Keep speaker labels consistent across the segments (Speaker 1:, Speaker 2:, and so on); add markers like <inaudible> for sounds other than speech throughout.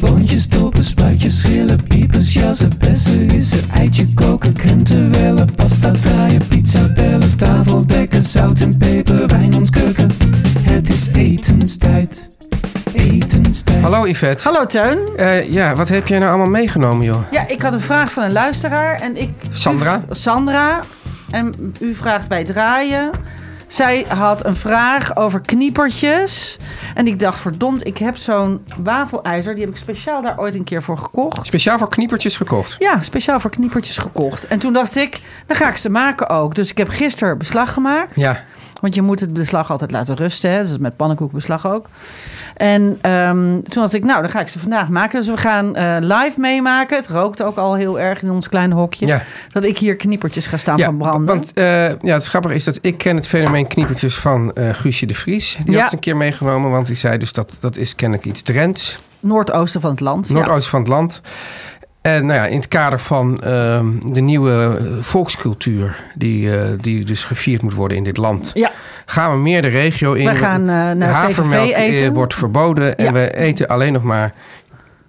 Speaker 1: Boontjes, dopen, spuitjes, schillen, piepers, jassen, bessen, rissen, eitje koken, krenten wellen, pasta draaien, pizza bellen, tafel dekken, zout en peper, wijn ontkurken. Het is etenstijd, etenstijd.
Speaker 2: Hallo Yvette.
Speaker 3: Hallo Teun.
Speaker 2: Eh, ja, wat heb jij nou allemaal meegenomen, joh?
Speaker 3: Ja, ik had een vraag van een luisteraar en ik...
Speaker 2: Sandra?
Speaker 3: U- Sandra. En u vraagt bij draaien. Zij had een vraag over kniepertjes. En ik dacht, verdomd, ik heb zo'n wafelijzer. Die heb ik speciaal daar ooit een keer voor gekocht.
Speaker 2: Speciaal voor kniepertjes gekocht.
Speaker 3: Ja, speciaal voor kniepertjes gekocht. En toen dacht ik, dan ga ik ze maken ook. Dus ik heb gisteren beslag gemaakt.
Speaker 2: Ja.
Speaker 3: Want je moet het beslag altijd laten rusten. Hè? Dus met pannenkoekbeslag ook. En ehm, toen dacht ik, nou, dan ga ik ze vandaag maken. Dus we gaan eh, live meemaken. Het rookte ook al heel erg in ons klein hokje.
Speaker 2: Ja.
Speaker 3: Dat ik hier kniepertjes ga staan van branden.
Speaker 2: want eh, ja, het grappige is dat ik ken het fenomeen kniepertjes van eh, Guusje de Vries. Die
Speaker 3: Ja.
Speaker 2: had ze een keer meegenomen, want die zei dus dat dat is kennelijk iets Drents.
Speaker 3: Noordoosten van het land.
Speaker 2: Noordoost van het land. En nou ja, in het kader van ehm, de nieuwe eh, volkscultuur die, eh, die dus gevierd moet worden in dit land.
Speaker 3: Ja.
Speaker 2: Gaan we meer de regio in.
Speaker 3: Wij gaan, eh, naar
Speaker 2: Havermelk
Speaker 3: PVV
Speaker 2: eh,
Speaker 3: eten.
Speaker 2: wordt verboden en
Speaker 3: Ja.
Speaker 2: we eten alleen nog maar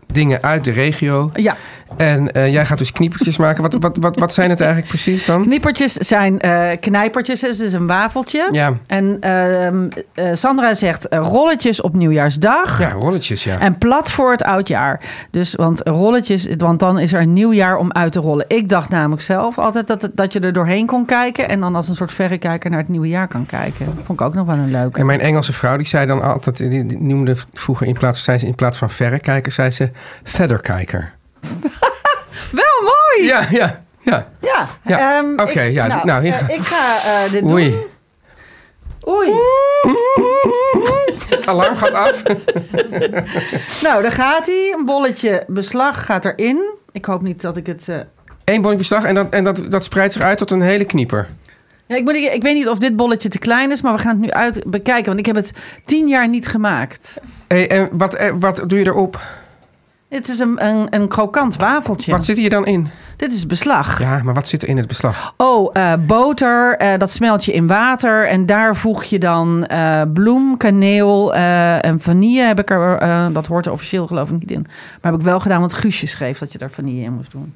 Speaker 2: dingen uit de regio.
Speaker 3: ja. ja.
Speaker 2: En eh, jij gaat dus kniepertjes maken. Wat, wat, wat, wat zijn het eigenlijk precies dan?
Speaker 3: Knippertjes zijn eh knijpertjes. Dus het is een wafeltje.
Speaker 2: Ja.
Speaker 3: En ehm, eh, Sandra zegt eh, rolletjes op nieuwjaarsdag.
Speaker 2: Ja, rolletjes, ja.
Speaker 3: En plat voor het oudjaar. Dus, want rolletjes, want dan is er een nieuw jaar om uit te rollen. Ik dacht namelijk zelf altijd dat, dat je er doorheen kon kijken. En dan als een soort verrekijker naar het nieuwe jaar kan kijken. Vond ik ook nog wel een leuke.
Speaker 2: En mijn Engelse vrouw die zei dan altijd, die, die noemde vroeger in plaats, zei ze, in plaats van verrekijker, zei ze verderkijker.
Speaker 3: Wel mooi!
Speaker 2: Ja, ja, ja.
Speaker 3: Ja.
Speaker 2: Ja.
Speaker 3: ehm, ik-
Speaker 2: Oké, ja, nou, hier
Speaker 3: eh,
Speaker 2: ga-
Speaker 3: ik ga eh, dit
Speaker 2: Oei,
Speaker 3: doen. Oei.
Speaker 2: het alarm gaat af.
Speaker 3: Nou, daar gaat hij. Een bolletje beslag gaat erin. Ik hoop niet dat ik het... eh,
Speaker 2: Eén bonnetje beslag en, dat, en dat, dat spreidt zich uit tot een hele knieper.
Speaker 3: Ja, ik, moet, ik, ik weet niet of dit bolletje te klein is, maar we gaan het nu uit bekijken. Want ik heb het tien jaar niet gemaakt.
Speaker 2: Hey, en wat, eh, wat doe je erop?
Speaker 3: Het is een, een, een krokant wafeltje.
Speaker 2: Wat zit hier dan in?
Speaker 3: Dit is beslag.
Speaker 2: Ja, maar wat zit er in het beslag?
Speaker 3: Oh, eh, boter, eh, dat smelt je in water. En daar voeg je dan eh, bloem, kaneel eh, en vanille heb ik er. eh, dat hoort er officieel geloof ik niet in. Maar heb ik wel gedaan, want Guusje schreef dat je daar vanille in moest doen.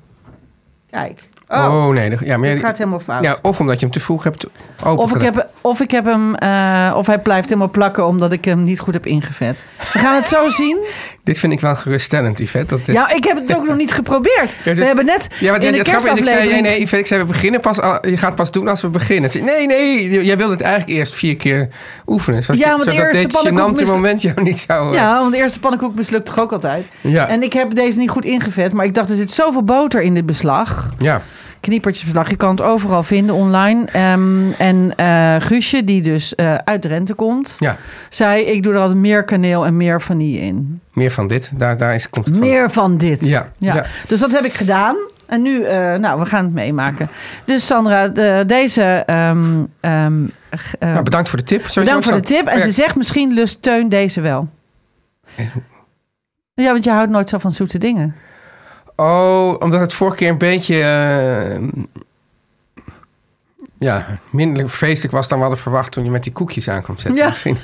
Speaker 3: Kijk. Oh,
Speaker 2: nee. dat- Ja, maar
Speaker 3: dit
Speaker 2: ja,
Speaker 3: gaat helemaal fout.
Speaker 2: ja, of omdat je hem te vroeg hebt open
Speaker 3: Of ik,
Speaker 2: gedaan.
Speaker 3: heb, of ik heb hem, eh, of hij blijft helemaal plakken omdat ik hem niet goed heb ingevet. We gaan het zo
Speaker 2: <laughs>
Speaker 3: zien.
Speaker 2: Dit vind ik wel geruststellend, Yvette. Dat, dit-
Speaker 3: Ja, ik heb het ook nog niet geprobeerd.
Speaker 2: Ja, het
Speaker 3: We
Speaker 2: is-
Speaker 3: hebben net
Speaker 2: Ja, want
Speaker 3: in
Speaker 2: het
Speaker 3: de
Speaker 2: grappige is, ik zei, nee,
Speaker 3: kerstaflevering...
Speaker 2: nee, Yvette, ik zei, we beginnen pas, al- je gaat pas doen als we beginnen. Ze zei, nee, nee, j- jij wilde het eigenlijk eerst vier keer oefenen. Zodat,
Speaker 3: Ja,
Speaker 2: je-
Speaker 3: want
Speaker 2: zodat
Speaker 3: eerst de
Speaker 2: dit
Speaker 3: pannenkoek
Speaker 2: gênante
Speaker 3: mis-
Speaker 2: moment jou niet zou... eh,
Speaker 3: Ja, want de eerste pannenkoek mislukt toch ook altijd.
Speaker 2: Ja.
Speaker 3: En ik heb deze niet goed ingevet, maar ik dacht, er zit zoveel boter in dit beslag.
Speaker 2: ja.
Speaker 3: Kniepertjesbeslag, je kan het overal vinden online. Ehm, en eh, Guusje, die dus eh, uit Drenthe komt,
Speaker 2: ja.
Speaker 3: zei, ik doe er altijd meer kaneel en meer vanille in.
Speaker 2: meer van dit. Daar, daar is, komt het van.
Speaker 3: Meer van dit.
Speaker 2: Ja, ja.
Speaker 3: Dus dat heb ik gedaan. En nu, eh, nou, we gaan het meemaken. Dus Sandra, de- deze... ehm, ehm, g- eh,
Speaker 2: Nou, bedankt voor de tip. Sowieso,
Speaker 3: Bedankt voor de
Speaker 2: Sam.
Speaker 3: tip. En
Speaker 2: Oh Ja.
Speaker 3: ze zegt misschien lust Teun deze wel. Ja, want je houdt nooit zo van zoete dingen.
Speaker 2: Oh, omdat het vorige keer een beetje... eh, ja, minder feestelijk was dan we hadden verwacht toen je met die koekjes aan kwam zetten.
Speaker 3: Ja. <laughs>
Speaker 2: Misschien.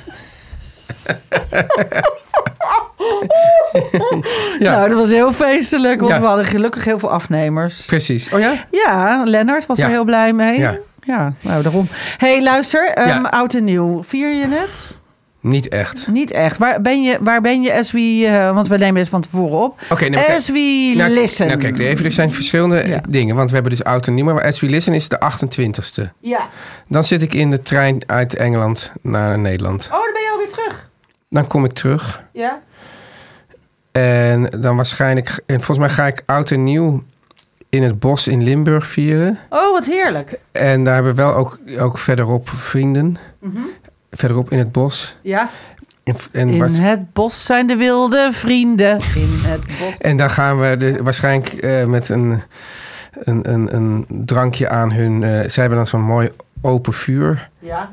Speaker 2: ja,
Speaker 3: Nou, dat was heel feestelijk, want
Speaker 2: Ja.
Speaker 3: we hadden gelukkig heel veel afnemers.
Speaker 2: precies. Oh ja?
Speaker 3: Ja, Lennart was
Speaker 2: Ja.
Speaker 3: er heel blij mee.
Speaker 2: Ja.
Speaker 3: Ja, nou daarom. hey, luister, ehm,
Speaker 2: Ja.
Speaker 3: oud en nieuw. Vier je het?
Speaker 2: Niet echt.
Speaker 3: Niet echt. Waar ben je, waar ben je as we... eh, want we nemen dit van tevoren op.
Speaker 2: Oké, nee, maar kijk-
Speaker 3: as we
Speaker 2: Nou,
Speaker 3: listen.
Speaker 2: Nou, kijk, even, er zijn verschillende
Speaker 3: Ja.
Speaker 2: eh, dingen. Want we hebben dus oud en nieuw. Maar As We Listen is de 28ste.
Speaker 3: Ja.
Speaker 2: Dan zit ik in de trein uit Engeland naar Nederland.
Speaker 3: Oh, dan ben je alweer terug.
Speaker 2: Dan kom ik terug.
Speaker 3: Ja.
Speaker 2: En dan waarschijnlijk... En volgens mij ga ik oud en nieuw in het bos in Limburg vieren.
Speaker 3: Oh, wat heerlijk.
Speaker 2: En daar hebben we wel ook, ook verderop vrienden. Verderop in het bos.
Speaker 3: Ja.
Speaker 2: En, en,
Speaker 3: Mhm. In
Speaker 2: waars-
Speaker 3: het bos zijn de wilde vrienden. In het bos.
Speaker 2: en daar gaan we de, waarschijnlijk eh, met een, een, een, een drankje aan hun... eh, zij hebben dan zo'n mooi open vuur.
Speaker 3: Ja.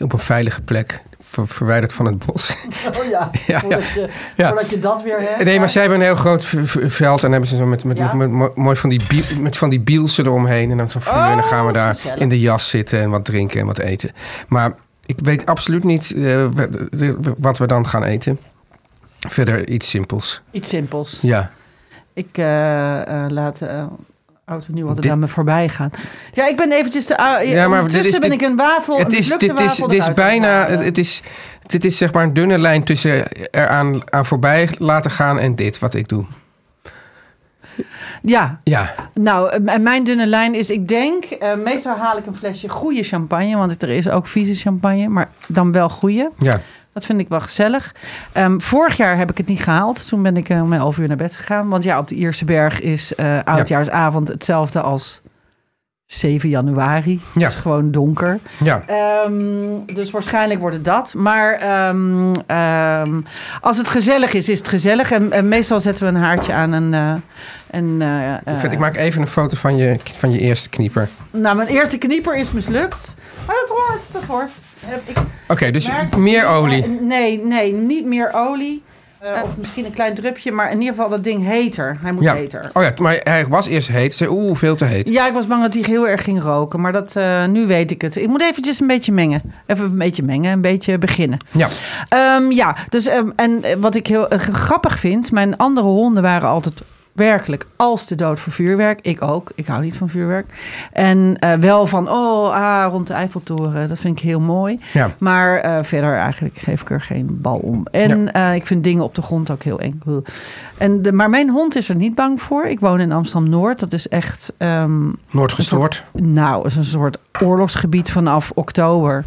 Speaker 2: op een veilige plek, ver- verwijderd van het bos.
Speaker 3: Oh ja.
Speaker 2: <laughs> Ja, Voordat ja.
Speaker 3: Je,
Speaker 2: Ja. voordat
Speaker 3: dat weer hebt.
Speaker 2: nee, maar zij hebben een heel groot v- v- veld en hebben ze zo met, met,
Speaker 3: Ja.
Speaker 2: met, met mo- mooi van die, bie- met van die bielsen eromheen en dan zo'n vuur. en dan gaan we
Speaker 3: Oh,
Speaker 2: daar
Speaker 3: gezellig.
Speaker 2: in de jas zitten en wat drinken en wat eten. Maar ik weet absoluut niet eh, wat- wat we dan gaan eten. Verder iets simpels.
Speaker 3: Iets simpels.
Speaker 2: Ja.
Speaker 3: Ik eh, eh, laat eh oud en nieuw altijd
Speaker 2: Dit-
Speaker 3: aan me voorbij gaan. Ja, ik ben eventjes de... ja,
Speaker 2: Ja, maar dit
Speaker 3: ondertussen
Speaker 2: is-
Speaker 3: ben
Speaker 2: dit-
Speaker 3: ik een wafel,
Speaker 2: Het
Speaker 3: een
Speaker 2: is,
Speaker 3: mislukte
Speaker 2: dit is,
Speaker 3: wafel
Speaker 2: dit is
Speaker 3: eruit aan het
Speaker 2: bijna,
Speaker 3: halen.
Speaker 2: het is, dit is zeg maar een dunne lijn tussen eraan aan voorbij laten gaan en dit wat ik doe.
Speaker 3: Ja,
Speaker 2: Ja.
Speaker 3: nou, eh, en mijn dunne lijn is, ik denk... eh, meestal haal ik een flesje goede champagne, want er is ook vieze champagne. Maar dan wel goede.
Speaker 2: Ja.
Speaker 3: Dat vind ik wel gezellig. Ehm, vorig jaar heb ik het niet gehaald. Toen ben ik eh, om 11 uur naar bed gegaan. Want ja, op de Ierse Berg is eh, oudjaarsavond hetzelfde als 7 januari.
Speaker 2: Ja.
Speaker 3: Het is gewoon donker.
Speaker 2: Ja.
Speaker 3: Ehm, dus waarschijnlijk wordt het dat. Maar ehm, ehm, als het gezellig is, is het gezellig. En, en meestal zetten we een haartje aan en... eh, en eh, eh,
Speaker 2: ik maak even een foto van je, van je eerste knieper.
Speaker 3: Nou, mijn eerste knieper is mislukt. Maar dat hoort, dat hoort. Eh, Ik
Speaker 2: Oké, dus
Speaker 3: merk-
Speaker 2: meer olie.
Speaker 3: Nee, nee, niet meer olie. Eh, of misschien een klein drupje, maar in ieder geval dat ding heter. Hij moet
Speaker 2: Ja.
Speaker 3: heter.
Speaker 2: Oh ja, maar hij was eerst heet. Zei, oeh, veel te heet.
Speaker 3: Ja, ik was bang dat hij heel erg ging roken, maar dat, eh, nu weet ik het. Ik moet eventjes een beetje mengen. Even een beetje mengen, een beetje beginnen.
Speaker 2: Ja.
Speaker 3: Ehm, ja, dus ehm, en eh, wat ik heel eh, grappig vind, mijn andere honden waren altijd werkelijk als de dood voor vuurwerk. Ik ook, ik hou niet van vuurwerk. En eh, wel van, oh, ah, rond de Eiffeltoren, dat vind ik heel mooi.
Speaker 2: Ja.
Speaker 3: Maar eh, verder eigenlijk geef ik er geen bal om. En eh, ik vind dingen op de grond ook heel eng. Ugh. En de, maar mijn hond is er niet bang voor. Ik woon in Amsterdam-Noord, dat is echt... ehm,
Speaker 2: Noord gestoord.
Speaker 3: nou, het is een soort oorlogsgebied vanaf oktober.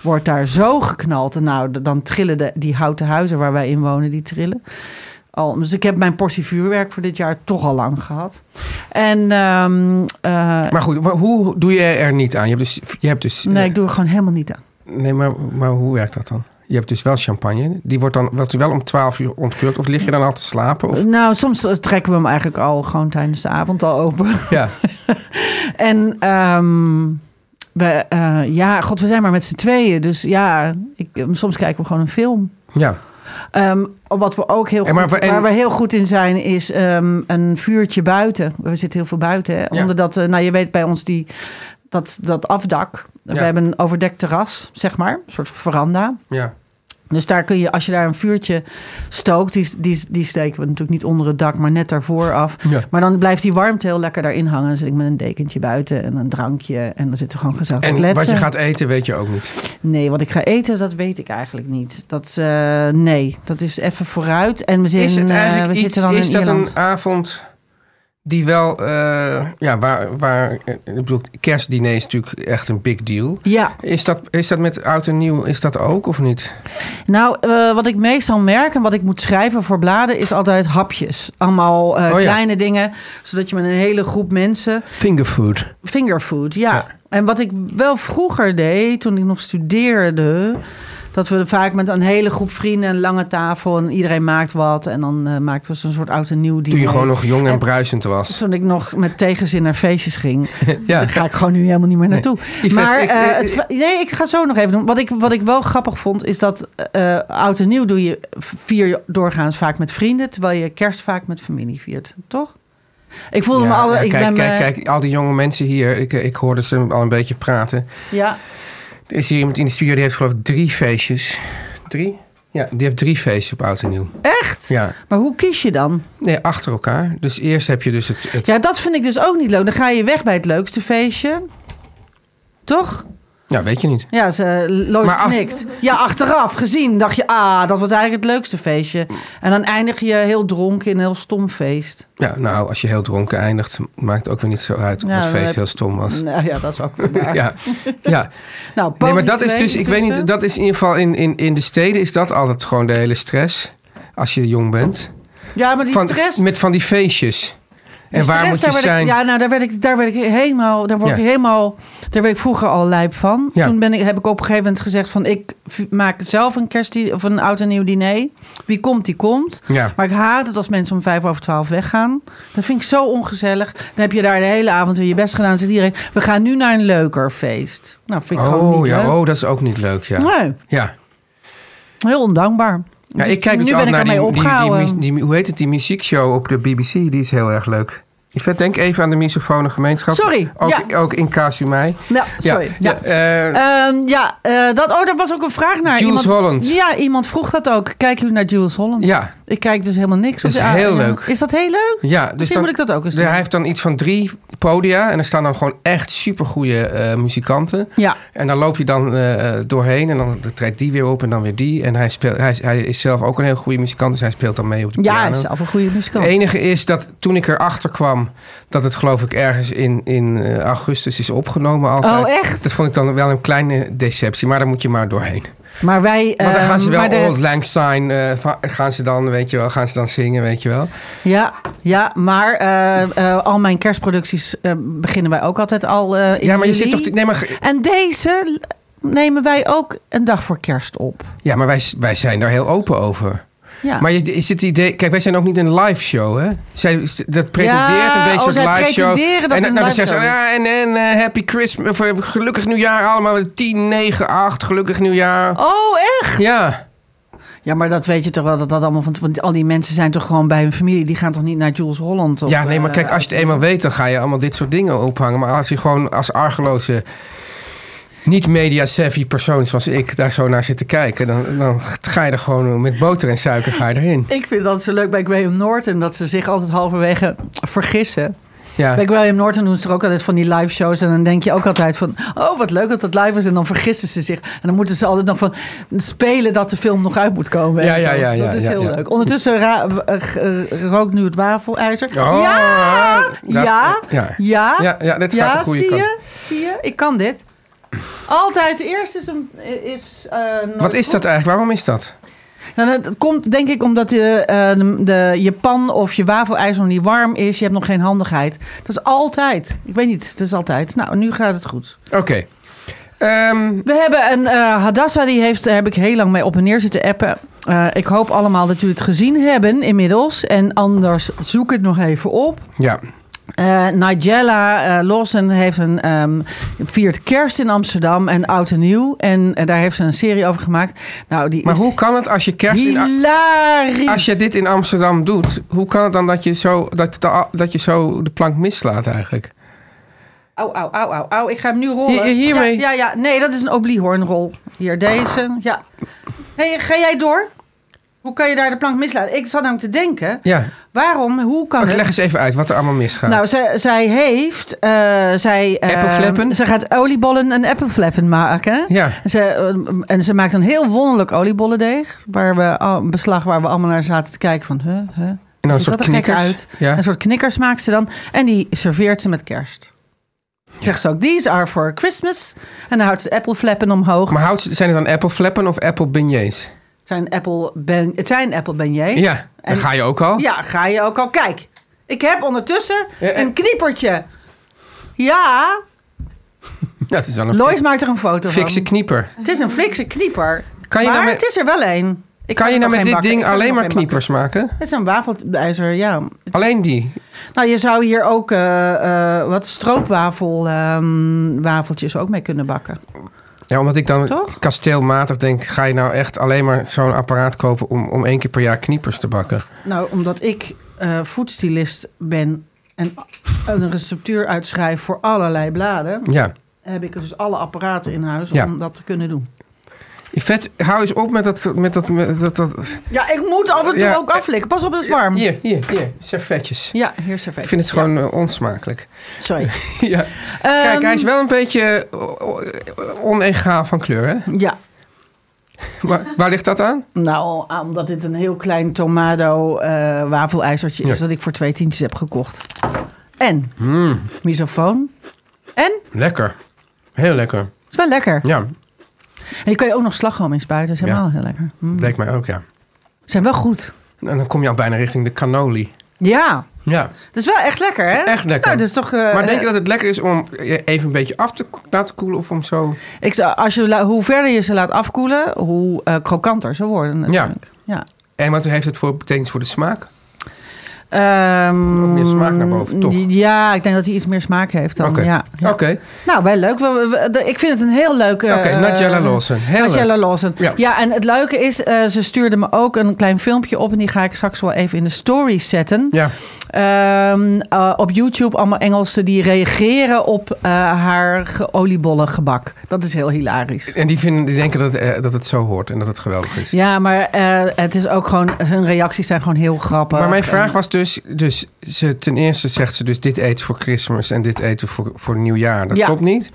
Speaker 3: Wordt daar zo geknald. En nou, d- dan trillen de, die houten huizen waar wij in wonen, die trillen. Al, dus ik heb mijn portie vuurwerk voor dit jaar toch al lang gehad. En ehm, eh,
Speaker 2: Maar goed, wa- hoe doe je er niet aan? Je hebt dus... Je hebt dus
Speaker 3: nee, ik doe er gewoon helemaal niet aan.
Speaker 2: eh, nee maar, maar hoe werkt dat dan? Je hebt dus wel champagne. Die wordt dan wordt die wel om 12 uur ontkurkt. Of lig je dan al te slapen? Of,
Speaker 3: Nou, soms eh, trekken we hem eigenlijk al gewoon tijdens de avond al open. <laughs>
Speaker 2: ja.
Speaker 3: En ehm, we, eh, ja, god, we zijn maar met z'n tweeën. Dus ja, ik, eh, soms kijken we gewoon een film.
Speaker 2: ja.
Speaker 3: Ehm, wat we ook heel
Speaker 2: En
Speaker 3: goed,
Speaker 2: maar we- en-
Speaker 3: waar we heel goed in zijn, is ehm, een vuurtje buiten. We zitten heel veel buiten. Hè? Onder dat, eh, nou, je weet bij ons die, dat, dat afdak. We
Speaker 2: Ja.
Speaker 3: hebben een overdekt terras, zeg maar. Een soort veranda.
Speaker 2: Ja.
Speaker 3: Dus daar kun je, als je daar een vuurtje stookt, die, die, die steken we natuurlijk niet onder het dak, maar net daarvoor af.
Speaker 2: Ja.
Speaker 3: Maar dan blijft die warmte heel lekker daarin hangen. Dan zit ik met een dekentje buiten en een drankje. En dan zitten we gewoon gezellig te
Speaker 2: En
Speaker 3: kletsen.
Speaker 2: wat je gaat eten, weet je ook niet.
Speaker 3: Nee, wat ik ga eten, dat weet ik eigenlijk niet. Dat, eh, nee, dat is even vooruit. En we, zitten
Speaker 2: Is het
Speaker 3: eh,
Speaker 2: eigenlijk
Speaker 3: we
Speaker 2: iets...
Speaker 3: zitten dan
Speaker 2: Is
Speaker 3: in
Speaker 2: dat
Speaker 3: Ierland.
Speaker 2: een ah. avond... Die wel, eh, ja, waar, waar, eh, ik bedoel, kerstdiner is natuurlijk echt een big deal.
Speaker 3: Ja,
Speaker 2: Is dat, is dat met oud en nieuw, is dat ook of niet?
Speaker 3: nou, eh, wat ik meestal merk en wat ik moet schrijven voor bladen... is altijd hapjes. Allemaal eh,
Speaker 2: Oh ja.
Speaker 3: kleine dingen, zodat je met een hele groep mensen...
Speaker 2: Fingerfood.
Speaker 3: Fingerfood, ja.
Speaker 2: Ja.
Speaker 3: En wat ik wel vroeger deed, toen ik nog studeerde... dat we vaak met een hele groep vrienden een lange tafel... en iedereen maakt wat en dan eh, maakten we zo'n soort oud en nieuw diner.
Speaker 2: Toen je gewoon nog jong en
Speaker 3: En-
Speaker 2: bruisend was.
Speaker 3: Toen ik nog met tegenzin naar feestjes ging...
Speaker 2: Ja.
Speaker 3: Daar ga ik gewoon nu helemaal niet meer naartoe.
Speaker 2: Yvette,
Speaker 3: maar
Speaker 2: ik-
Speaker 3: eh,
Speaker 2: ik-
Speaker 3: het va- nee, ik ga zo nog even doen. Wat ik, wat ik wel grappig vond, is dat eh, oud en nieuw doe je vier je doorgaans vaak met vrienden, terwijl je kerst vaak met familie viert, toch? Ik voelde me
Speaker 2: Ja,
Speaker 3: alle.
Speaker 2: ja,
Speaker 3: ik
Speaker 2: kijk,
Speaker 3: ben
Speaker 2: kijk,
Speaker 3: me-
Speaker 2: kijk, al die jonge mensen hier, ik, eh, ik hoorde ze al een beetje praten.
Speaker 3: Ja,
Speaker 2: Er is hier iemand in de studio die heeft geloof ik drie feestjes. Drie? Ja, die heeft drie feestjes op oud en nieuw.
Speaker 3: echt.
Speaker 2: Ja,
Speaker 3: Maar hoe kies je dan?
Speaker 2: nee, achter elkaar. Dus eerst heb je dus het... het ja.
Speaker 3: Ja, dat vind ik dus ook niet leuk. Dan ga je weg bij het leukste feestje, toch?
Speaker 2: Ja, weet je niet.
Speaker 3: Ja, ze Lois
Speaker 2: Maar ach-
Speaker 3: knikt. Ja, achteraf gezien dacht je, ah, dat was eigenlijk het leukste feestje. En dan eindig je heel dronken in een heel stom feest.
Speaker 2: Ja, nou, als je heel dronken eindigt, maakt ook weer niet zo uit of
Speaker 3: Ja,
Speaker 2: het
Speaker 3: dan
Speaker 2: feest
Speaker 3: heb-
Speaker 2: heel stom was.
Speaker 3: Nou ja, dat is ook weer
Speaker 2: <laughs>
Speaker 3: waar.
Speaker 2: Ja, ja.
Speaker 3: Nou,
Speaker 2: Nee, maar
Speaker 3: poging
Speaker 2: dat is
Speaker 3: twee
Speaker 2: dus, ik weet niet,
Speaker 3: intussen.
Speaker 2: dat is in ieder geval in, in, in de steden is dat altijd gewoon de hele stress. Als je jong bent.
Speaker 3: Ja, maar die
Speaker 2: Van,
Speaker 3: stress...
Speaker 2: met van die feestjes.
Speaker 3: die
Speaker 2: En waar
Speaker 3: stress,
Speaker 2: moet je
Speaker 3: daar werd ik-
Speaker 2: zijn?
Speaker 3: ja, nou, daar werd ik, daar werd ik helemaal... Daar, word
Speaker 2: Ja.
Speaker 3: ik helemaal, daar werd ik vroeger al lijp van.
Speaker 2: Ja.
Speaker 3: Toen ben ik, heb ik op een gegeven moment gezegd van... ik v- maak zelf een kerst of een oud en nieuw diner. Wie komt, die komt.
Speaker 2: Ja.
Speaker 3: Maar ik haat het als mensen om vijf over twaalf weggaan. Dat vind ik zo ongezellig. Dan heb je daar de hele avond weer je best gedaan. Dan zegt iedereen, we gaan nu naar een leuker feest. Nou, vind ik gewoon
Speaker 2: Oh,
Speaker 3: niet Nou, leuk.
Speaker 2: ja, oh, dat is ook niet leuk. Ja,
Speaker 3: Nee,
Speaker 2: ja.
Speaker 3: heel ondankbaar.
Speaker 2: ja
Speaker 3: Dus
Speaker 2: ik kijk
Speaker 3: nu
Speaker 2: dus
Speaker 3: ben
Speaker 2: altijd
Speaker 3: ik
Speaker 2: naar die,
Speaker 3: ermee
Speaker 2: die, die,
Speaker 3: opgehouden.
Speaker 2: mu- die mu- hoe heet het, die muziekshow op de BBC. Die is heel erg leuk. Ik denk even aan de misofone gemeenschap.
Speaker 3: Sorry,
Speaker 2: Ook,
Speaker 3: ja.
Speaker 2: ook in Casumai.
Speaker 3: Nou, sorry. ja.
Speaker 2: ja, eh,
Speaker 3: Ehm, ja, eh, dat, oh, daar was ook een vraag naar.
Speaker 2: Jules
Speaker 3: iemand,
Speaker 2: Holland.
Speaker 3: Ja, iemand vroeg dat ook. Kijken jullie naar Jules Holland?
Speaker 2: ja,
Speaker 3: Ik kijk dus helemaal niks.
Speaker 2: Dat
Speaker 3: op
Speaker 2: is
Speaker 3: de
Speaker 2: heel
Speaker 3: ARM.
Speaker 2: leuk.
Speaker 3: Is dat heel leuk?
Speaker 2: Ja, dus
Speaker 3: Misschien
Speaker 2: dan-
Speaker 3: moet ik dat ook eens
Speaker 2: de- Hij
Speaker 3: doen.
Speaker 2: heeft dan iets van drie podia. En er staan dan gewoon echt supergoeie eh muzikanten.
Speaker 3: Ja.
Speaker 2: En dan loop je dan eh, eh, doorheen. En dan treedt die weer op en dan weer die. En hij, speelt, hij, is- hij is zelf ook een heel goede muzikant. Dus hij speelt dan mee op de
Speaker 3: Ja, hij
Speaker 2: piano.
Speaker 3: is zelf een goede muzikant.
Speaker 2: Het enige is dat toen ik erachter kwam... dat het geloof ik ergens in, in eh, augustus is opgenomen altijd.
Speaker 3: Oh, echt?
Speaker 2: Dat vond ik dan wel een kleine deceptie. Maar daar moet je maar doorheen.
Speaker 3: Maar wij...
Speaker 2: Want dan
Speaker 3: ehm,
Speaker 2: gaan ze wel
Speaker 3: maar de-
Speaker 2: Old Lang Syne... eh, va- gaan ze dan, weet je wel, gaan ze dan zingen, weet je wel.
Speaker 3: ja, ja, maar eh, eh, al mijn kerstproducties eh, beginnen wij ook altijd al eh, in
Speaker 2: Ja, maar je
Speaker 3: juli.
Speaker 2: zit toch... Nee, maar
Speaker 3: En deze nemen wij ook een dag voor kerst op.
Speaker 2: Ja, maar wij, wij zijn daar heel open over.
Speaker 3: Ja.
Speaker 2: Maar je, is het idee... Kijk, wij zijn ook niet een live show, hè? Zij, dat pretendeert
Speaker 3: Ja,
Speaker 2: een beetje
Speaker 3: oh,
Speaker 2: als
Speaker 3: zij
Speaker 2: live show.
Speaker 3: pretenderen dat
Speaker 2: en
Speaker 3: het een
Speaker 2: nou, dan
Speaker 3: live
Speaker 2: zeggen ze,
Speaker 3: show
Speaker 2: ja, en, en eh, happy Christmas, of, eh, gelukkig nieuwjaar allemaal. 10, 9, 8, gelukkig nieuwjaar.
Speaker 3: Oh, echt?
Speaker 2: Ja,
Speaker 3: Ja, maar dat weet je toch wel dat dat allemaal van. Want al die mensen zijn toch gewoon bij hun familie. Die gaan toch niet naar Jules Holland? Of,
Speaker 2: ja, nee, maar
Speaker 3: eh,
Speaker 2: kijk, als je het eenmaal weet, dan ga je allemaal dit soort dingen ophangen. Maar als je gewoon als argeloze, niet media-savvy persoon zoals ik daar zo naar zit te kijken, dan, dan ga je er gewoon met boter en suiker ga je erin.
Speaker 3: Ik vind dat zo leuk bij Graham Norton dat ze zich altijd halverwege vergissen.
Speaker 2: Ja.
Speaker 3: Bij Graham Norton doen ze er ook altijd van die live shows. En dan denk je ook altijd van, oh wat leuk dat dat live is. En dan vergissen ze zich. En dan moeten ze altijd nog van spelen dat de film nog uit moet komen. en
Speaker 2: Ja, ja,
Speaker 3: zo.
Speaker 2: ja, ja,
Speaker 3: Dat is
Speaker 2: ja,
Speaker 3: heel
Speaker 2: ja.
Speaker 3: leuk. Ondertussen ra- eh, g- eh, rookt nu het wafelijzer.
Speaker 2: Oh,
Speaker 3: ja,
Speaker 2: dat-
Speaker 3: ja,
Speaker 2: ja.
Speaker 3: ja, ja,
Speaker 2: Ja, ja, dit gaat de goede
Speaker 3: zie
Speaker 2: kant.
Speaker 3: Je? Zie je? Ik kan dit. Altijd eerst is een... Is, eh, nooit
Speaker 2: Wat is
Speaker 3: goed.
Speaker 2: dat eigenlijk? Waarom is dat?
Speaker 3: Nou, dat komt denk ik omdat je, eh, de, de, je pan of je wafelijzer nog niet warm is. Je hebt nog geen handigheid. Dat is altijd. Ik weet niet, het is altijd. Nou, nu gaat het goed.
Speaker 2: Oké. Ehm,
Speaker 3: We hebben een eh Hadassa, die heeft, daar heb ik heel lang mee op en neer zitten appen. Eh, ik hoop allemaal dat jullie het gezien hebben inmiddels. En anders zoek het nog even op.
Speaker 2: ja.
Speaker 3: Eh, Nigella eh, Lawson heeft een, ehm, viert kerst in Amsterdam en oud en nieuw. En eh, daar heeft ze een serie over gemaakt. Nou, die
Speaker 2: Maar
Speaker 3: is
Speaker 2: hoe kan het als je kerst in,
Speaker 3: hilarisch.
Speaker 2: als je dit in Amsterdam doet, hoe kan het dan dat je zo dat, de- dat je zo de plank mislaat eigenlijk?
Speaker 3: Au, au, au, au, au. Ik ga hem nu rollen.
Speaker 2: Hier- hiermee?
Speaker 3: Ja, ja, ja. Nee, dat is een obliehornrol. Hier, deze. Ja. Hey, ga jij door? Hoe kan je daar de plank mislaten? Ik zat namelijk te denken.
Speaker 2: Ja.
Speaker 3: Waarom? Hoe kan
Speaker 2: Oké,
Speaker 3: het?
Speaker 2: leg eens even uit wat er allemaal misgaat.
Speaker 3: Nou, zij, zij heeft... eh zij, eh,
Speaker 2: Appelflappen?
Speaker 3: Ze gaat oliebollen en appelflappen maken.
Speaker 2: Ja.
Speaker 3: Ze, eh, en ze maakt een heel wonderlijk oliebollendeeg. Waar we, al- een beslag waar we allemaal naar zaten te kijken van... Huh, huh,
Speaker 2: en dan
Speaker 3: ziet dat er gek uit.
Speaker 2: Ja.
Speaker 3: Een soort knikkers maakt ze dan. En die serveert ze met kerst. Zegt ze ook, these are for Christmas. En dan houdt ze de appelflappen omhoog.
Speaker 2: Maar houdt, zijn het dan apple flappen of apple beignets?
Speaker 3: Het zijn apple ben, het zijn apple beignets.
Speaker 2: Ja. Dan
Speaker 3: En-
Speaker 2: ga je ook al.
Speaker 3: Ja, ga je ook al. Kijk, ik heb ondertussen
Speaker 2: Ja, en-
Speaker 3: een kniepertje. Ja,
Speaker 2: Ja, het is wel een
Speaker 3: Lois
Speaker 2: fi-
Speaker 3: maakt er een foto van.
Speaker 2: fikse knieper.
Speaker 3: Het is een flikse knieper.
Speaker 2: Kan je
Speaker 3: maar
Speaker 2: nou met-
Speaker 3: het is er wel één. Ik
Speaker 2: Kan
Speaker 3: er
Speaker 2: je nou
Speaker 3: nog
Speaker 2: met
Speaker 3: geen
Speaker 2: dit
Speaker 3: bakken.
Speaker 2: ding
Speaker 3: Ik kan er
Speaker 2: alleen
Speaker 3: nog
Speaker 2: maar
Speaker 3: geen bakken.
Speaker 2: kniepers maken?
Speaker 3: Het is een wafelijzer, ja.
Speaker 2: Alleen die.
Speaker 3: Nou, je zou hier ook eh, eh, wat stroopwafel, ehm, wafeltjes ook mee kunnen bakken.
Speaker 2: Ja, omdat ik dan
Speaker 3: Toch?
Speaker 2: kasteelmatig denk, ga je nou echt alleen maar zo'n apparaat kopen om, om één keer per jaar kniepers te bakken?
Speaker 3: Nou, omdat ik eh voedstylist ben en een receptuur uitschrijf voor allerlei bladen,
Speaker 2: Ja.
Speaker 3: heb ik dus alle apparaten in huis
Speaker 2: Ja.
Speaker 3: om dat te kunnen doen.
Speaker 2: Yvette, hou eens op met dat... Met dat, met dat, dat.
Speaker 3: Ja, ik moet af en toe
Speaker 2: Ja. eh,
Speaker 3: ook aflikken. Pas op, het is warm.
Speaker 2: Hier, hier, hier. Servetjes.
Speaker 3: Ja, hier is er
Speaker 2: Ik vind het gewoon eh,
Speaker 3: <laughs>
Speaker 2: onsmakelijk.
Speaker 3: Sorry.
Speaker 2: ja. Kijk, hij
Speaker 3: Ehm.
Speaker 2: is wel een beetje eh, onegaal van kleur, hè?
Speaker 3: Ja,
Speaker 2: Waar, waar ligt dat aan?
Speaker 3: nou, ah, omdat dit een heel klein tomado eh wafelijzertje is...
Speaker 2: Ja.
Speaker 3: dat ik voor twee tientjes heb gekocht. En
Speaker 2: Hmm.
Speaker 3: misofoon. En
Speaker 2: Lekker. Heel lekker.
Speaker 3: is wel lekker.
Speaker 2: Ja,
Speaker 3: En je kan je ook nog slagroom in spuiten. Dat is helemaal
Speaker 2: Ja.
Speaker 3: heel lekker. Mm.
Speaker 2: leek mij ook, ja.
Speaker 3: Zijn wel goed.
Speaker 2: En dan kom je al bijna richting de cannoli.
Speaker 3: Ja,
Speaker 2: Ja,
Speaker 3: het is wel echt lekker, hè?
Speaker 2: echt lekker.
Speaker 3: Nou, dat is toch... eh,
Speaker 2: maar denk je dat het lekker is om je even een beetje af te ko- laten koelen of om zo...
Speaker 3: eh, Ik zou, als je, la- hoe verder je ze laat afkoelen, hoe eh, krokanter ze worden natuurlijk. Ja.
Speaker 2: En wat heeft het voor betekenis voor de smaak?
Speaker 3: Ehm,
Speaker 2: Ook meer smaak naar boven, toch?
Speaker 3: Ja, ik denk dat hij iets meer smaak heeft dan.
Speaker 2: Oké,
Speaker 3: Ja, ja.
Speaker 2: oké.
Speaker 3: Nou, wel leuk. We- we- we- de- ik vind het een heel leuke...
Speaker 2: Oké,
Speaker 3: eh,
Speaker 2: Nigella Lawson. Heel
Speaker 3: Nigella Lawson. Ja.
Speaker 2: Ja.
Speaker 3: en het leuke is, eh, ze stuurde me ook een klein filmpje op... en die ga ik straks wel even in de stories zetten.
Speaker 2: Ja,
Speaker 3: Ehm, eh, op YouTube allemaal Engelsen die reageren op eh, haar ge- oliebollengebak. Dat is heel hilarisch.
Speaker 2: en die, vinden, die denken dat, eh, dat het zo hoort en dat het geweldig is.
Speaker 3: Ja, maar eh, het is ook gewoon... Hun reacties zijn gewoon heel grappig.
Speaker 2: Maar mijn
Speaker 3: En-
Speaker 2: vraag was dus, dus ze, ten eerste zegt ze dus dit eten voor Christmas en dit eten voor, voor nieuwjaar. Dat
Speaker 3: Ja.
Speaker 2: klopt niet.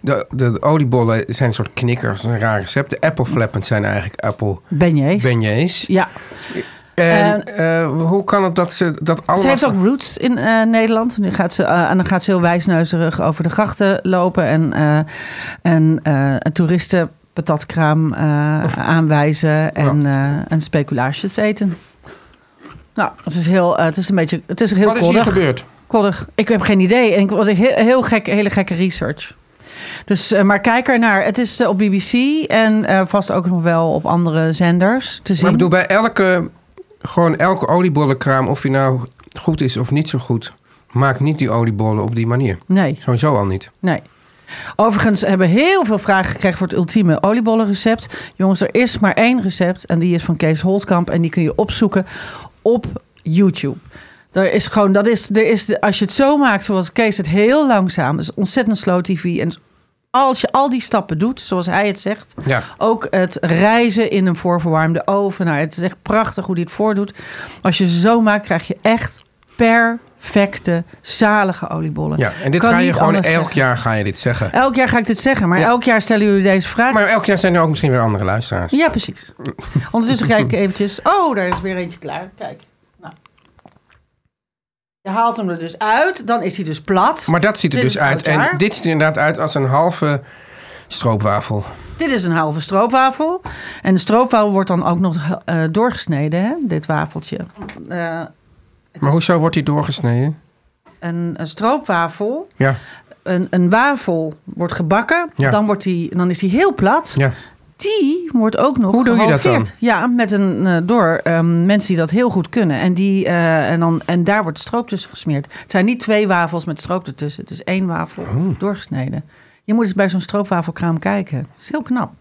Speaker 2: De, de, de oliebollen zijn een soort knikkers, een raar recept. De appelflappens zijn eigenlijk appel
Speaker 3: Beignets.
Speaker 2: beignets.
Speaker 3: Ja,
Speaker 2: En eh, hoe kan het dat ze dat allemaal...
Speaker 3: ze heeft ook roots in eh, Nederland. Nu gaat ze, eh, en dan gaat ze heel wijsneuzerig over de grachten lopen en, eh, en eh, een toeristen patatkraam eh, aanwijzen
Speaker 2: Oh.
Speaker 3: en, eh, en speculaasjes eten. Nou, het is, heel, eh, het is een beetje, het is heel
Speaker 2: Wat is hier
Speaker 3: koddig.
Speaker 2: gebeurd?
Speaker 3: koddig. Ik heb geen idee. En ik wilde heel, heel gek, hele gekke research. Dus, eh, maar kijk ernaar. Het is eh, op BBC en eh, vast ook nog wel op andere zenders te zien.
Speaker 2: Maar ik bedoel, bij elke, gewoon elke oliebollenkraam, of die nou goed is of niet zo goed, maakt niet die oliebollen op die manier.
Speaker 3: Nee.
Speaker 2: Sowieso al niet.
Speaker 3: Nee. Overigens hebben heel veel vragen gekregen voor het ultieme oliebollenrecept. Jongens, er is maar één recept en die is van Kees Holtkamp. En die kun je opzoeken op YouTube. Er is gewoon, dat is, er is, de- als je het zo maakt zoals Kees het heel langzaam. Dat is ontzettend slow tv. En als je al die stappen doet, zoals hij het zegt.
Speaker 2: Ja.
Speaker 3: Ook het reizen in een voorverwarmde oven. Nou, het is echt prachtig hoe hij het voordoet. Als je ze zo maakt, krijg je echt perfecte, zalige oliebollen.
Speaker 2: Ja, en dit
Speaker 3: Kan
Speaker 2: ga je
Speaker 3: niet
Speaker 2: gewoon elk
Speaker 3: anders zeggen.
Speaker 2: jaar ga je dit zeggen.
Speaker 3: Elk jaar ga ik dit zeggen, maar
Speaker 2: Ja.
Speaker 3: elk jaar stellen jullie deze vraag.
Speaker 2: Maar elk jaar zijn er ook misschien weer andere luisteraars.
Speaker 3: Ja, precies. Ondertussen kijk ik eventjes. Oh, daar is weer eentje klaar. Kijk. Nou. Je haalt hem er dus uit, dan is hij dus plat.
Speaker 2: Maar dat ziet er
Speaker 3: Dit
Speaker 2: dus
Speaker 3: is
Speaker 2: uit.
Speaker 3: oudjaar.
Speaker 2: En dit ziet er inderdaad uit als een halve stroopwafel.
Speaker 3: Dit is een halve stroopwafel. En de stroopwafel wordt dan ook nog eh, doorgesneden, hè? dit wafeltje. Eh,
Speaker 2: Maar hoezo wordt die doorgesneden?
Speaker 3: een, een stroopwafel,
Speaker 2: Ja,
Speaker 3: een, een wafel wordt gebakken,
Speaker 2: Ja.
Speaker 3: dan, wordt die, dan is die heel plat.
Speaker 2: ja.
Speaker 3: die wordt ook nog
Speaker 2: Hoe doe je dat
Speaker 3: gehalveerd. Ja, met een eh, door ehm, mensen die dat heel goed kunnen. En, die, eh, en, dan, en daar wordt stroop tussen gesmeerd. Het zijn niet twee wafels met stroop ertussen. Het is één wafel
Speaker 2: Oh.
Speaker 3: doorgesneden. Je moet eens bij zo'n stroopwafelkraam kijken. Het is heel knap.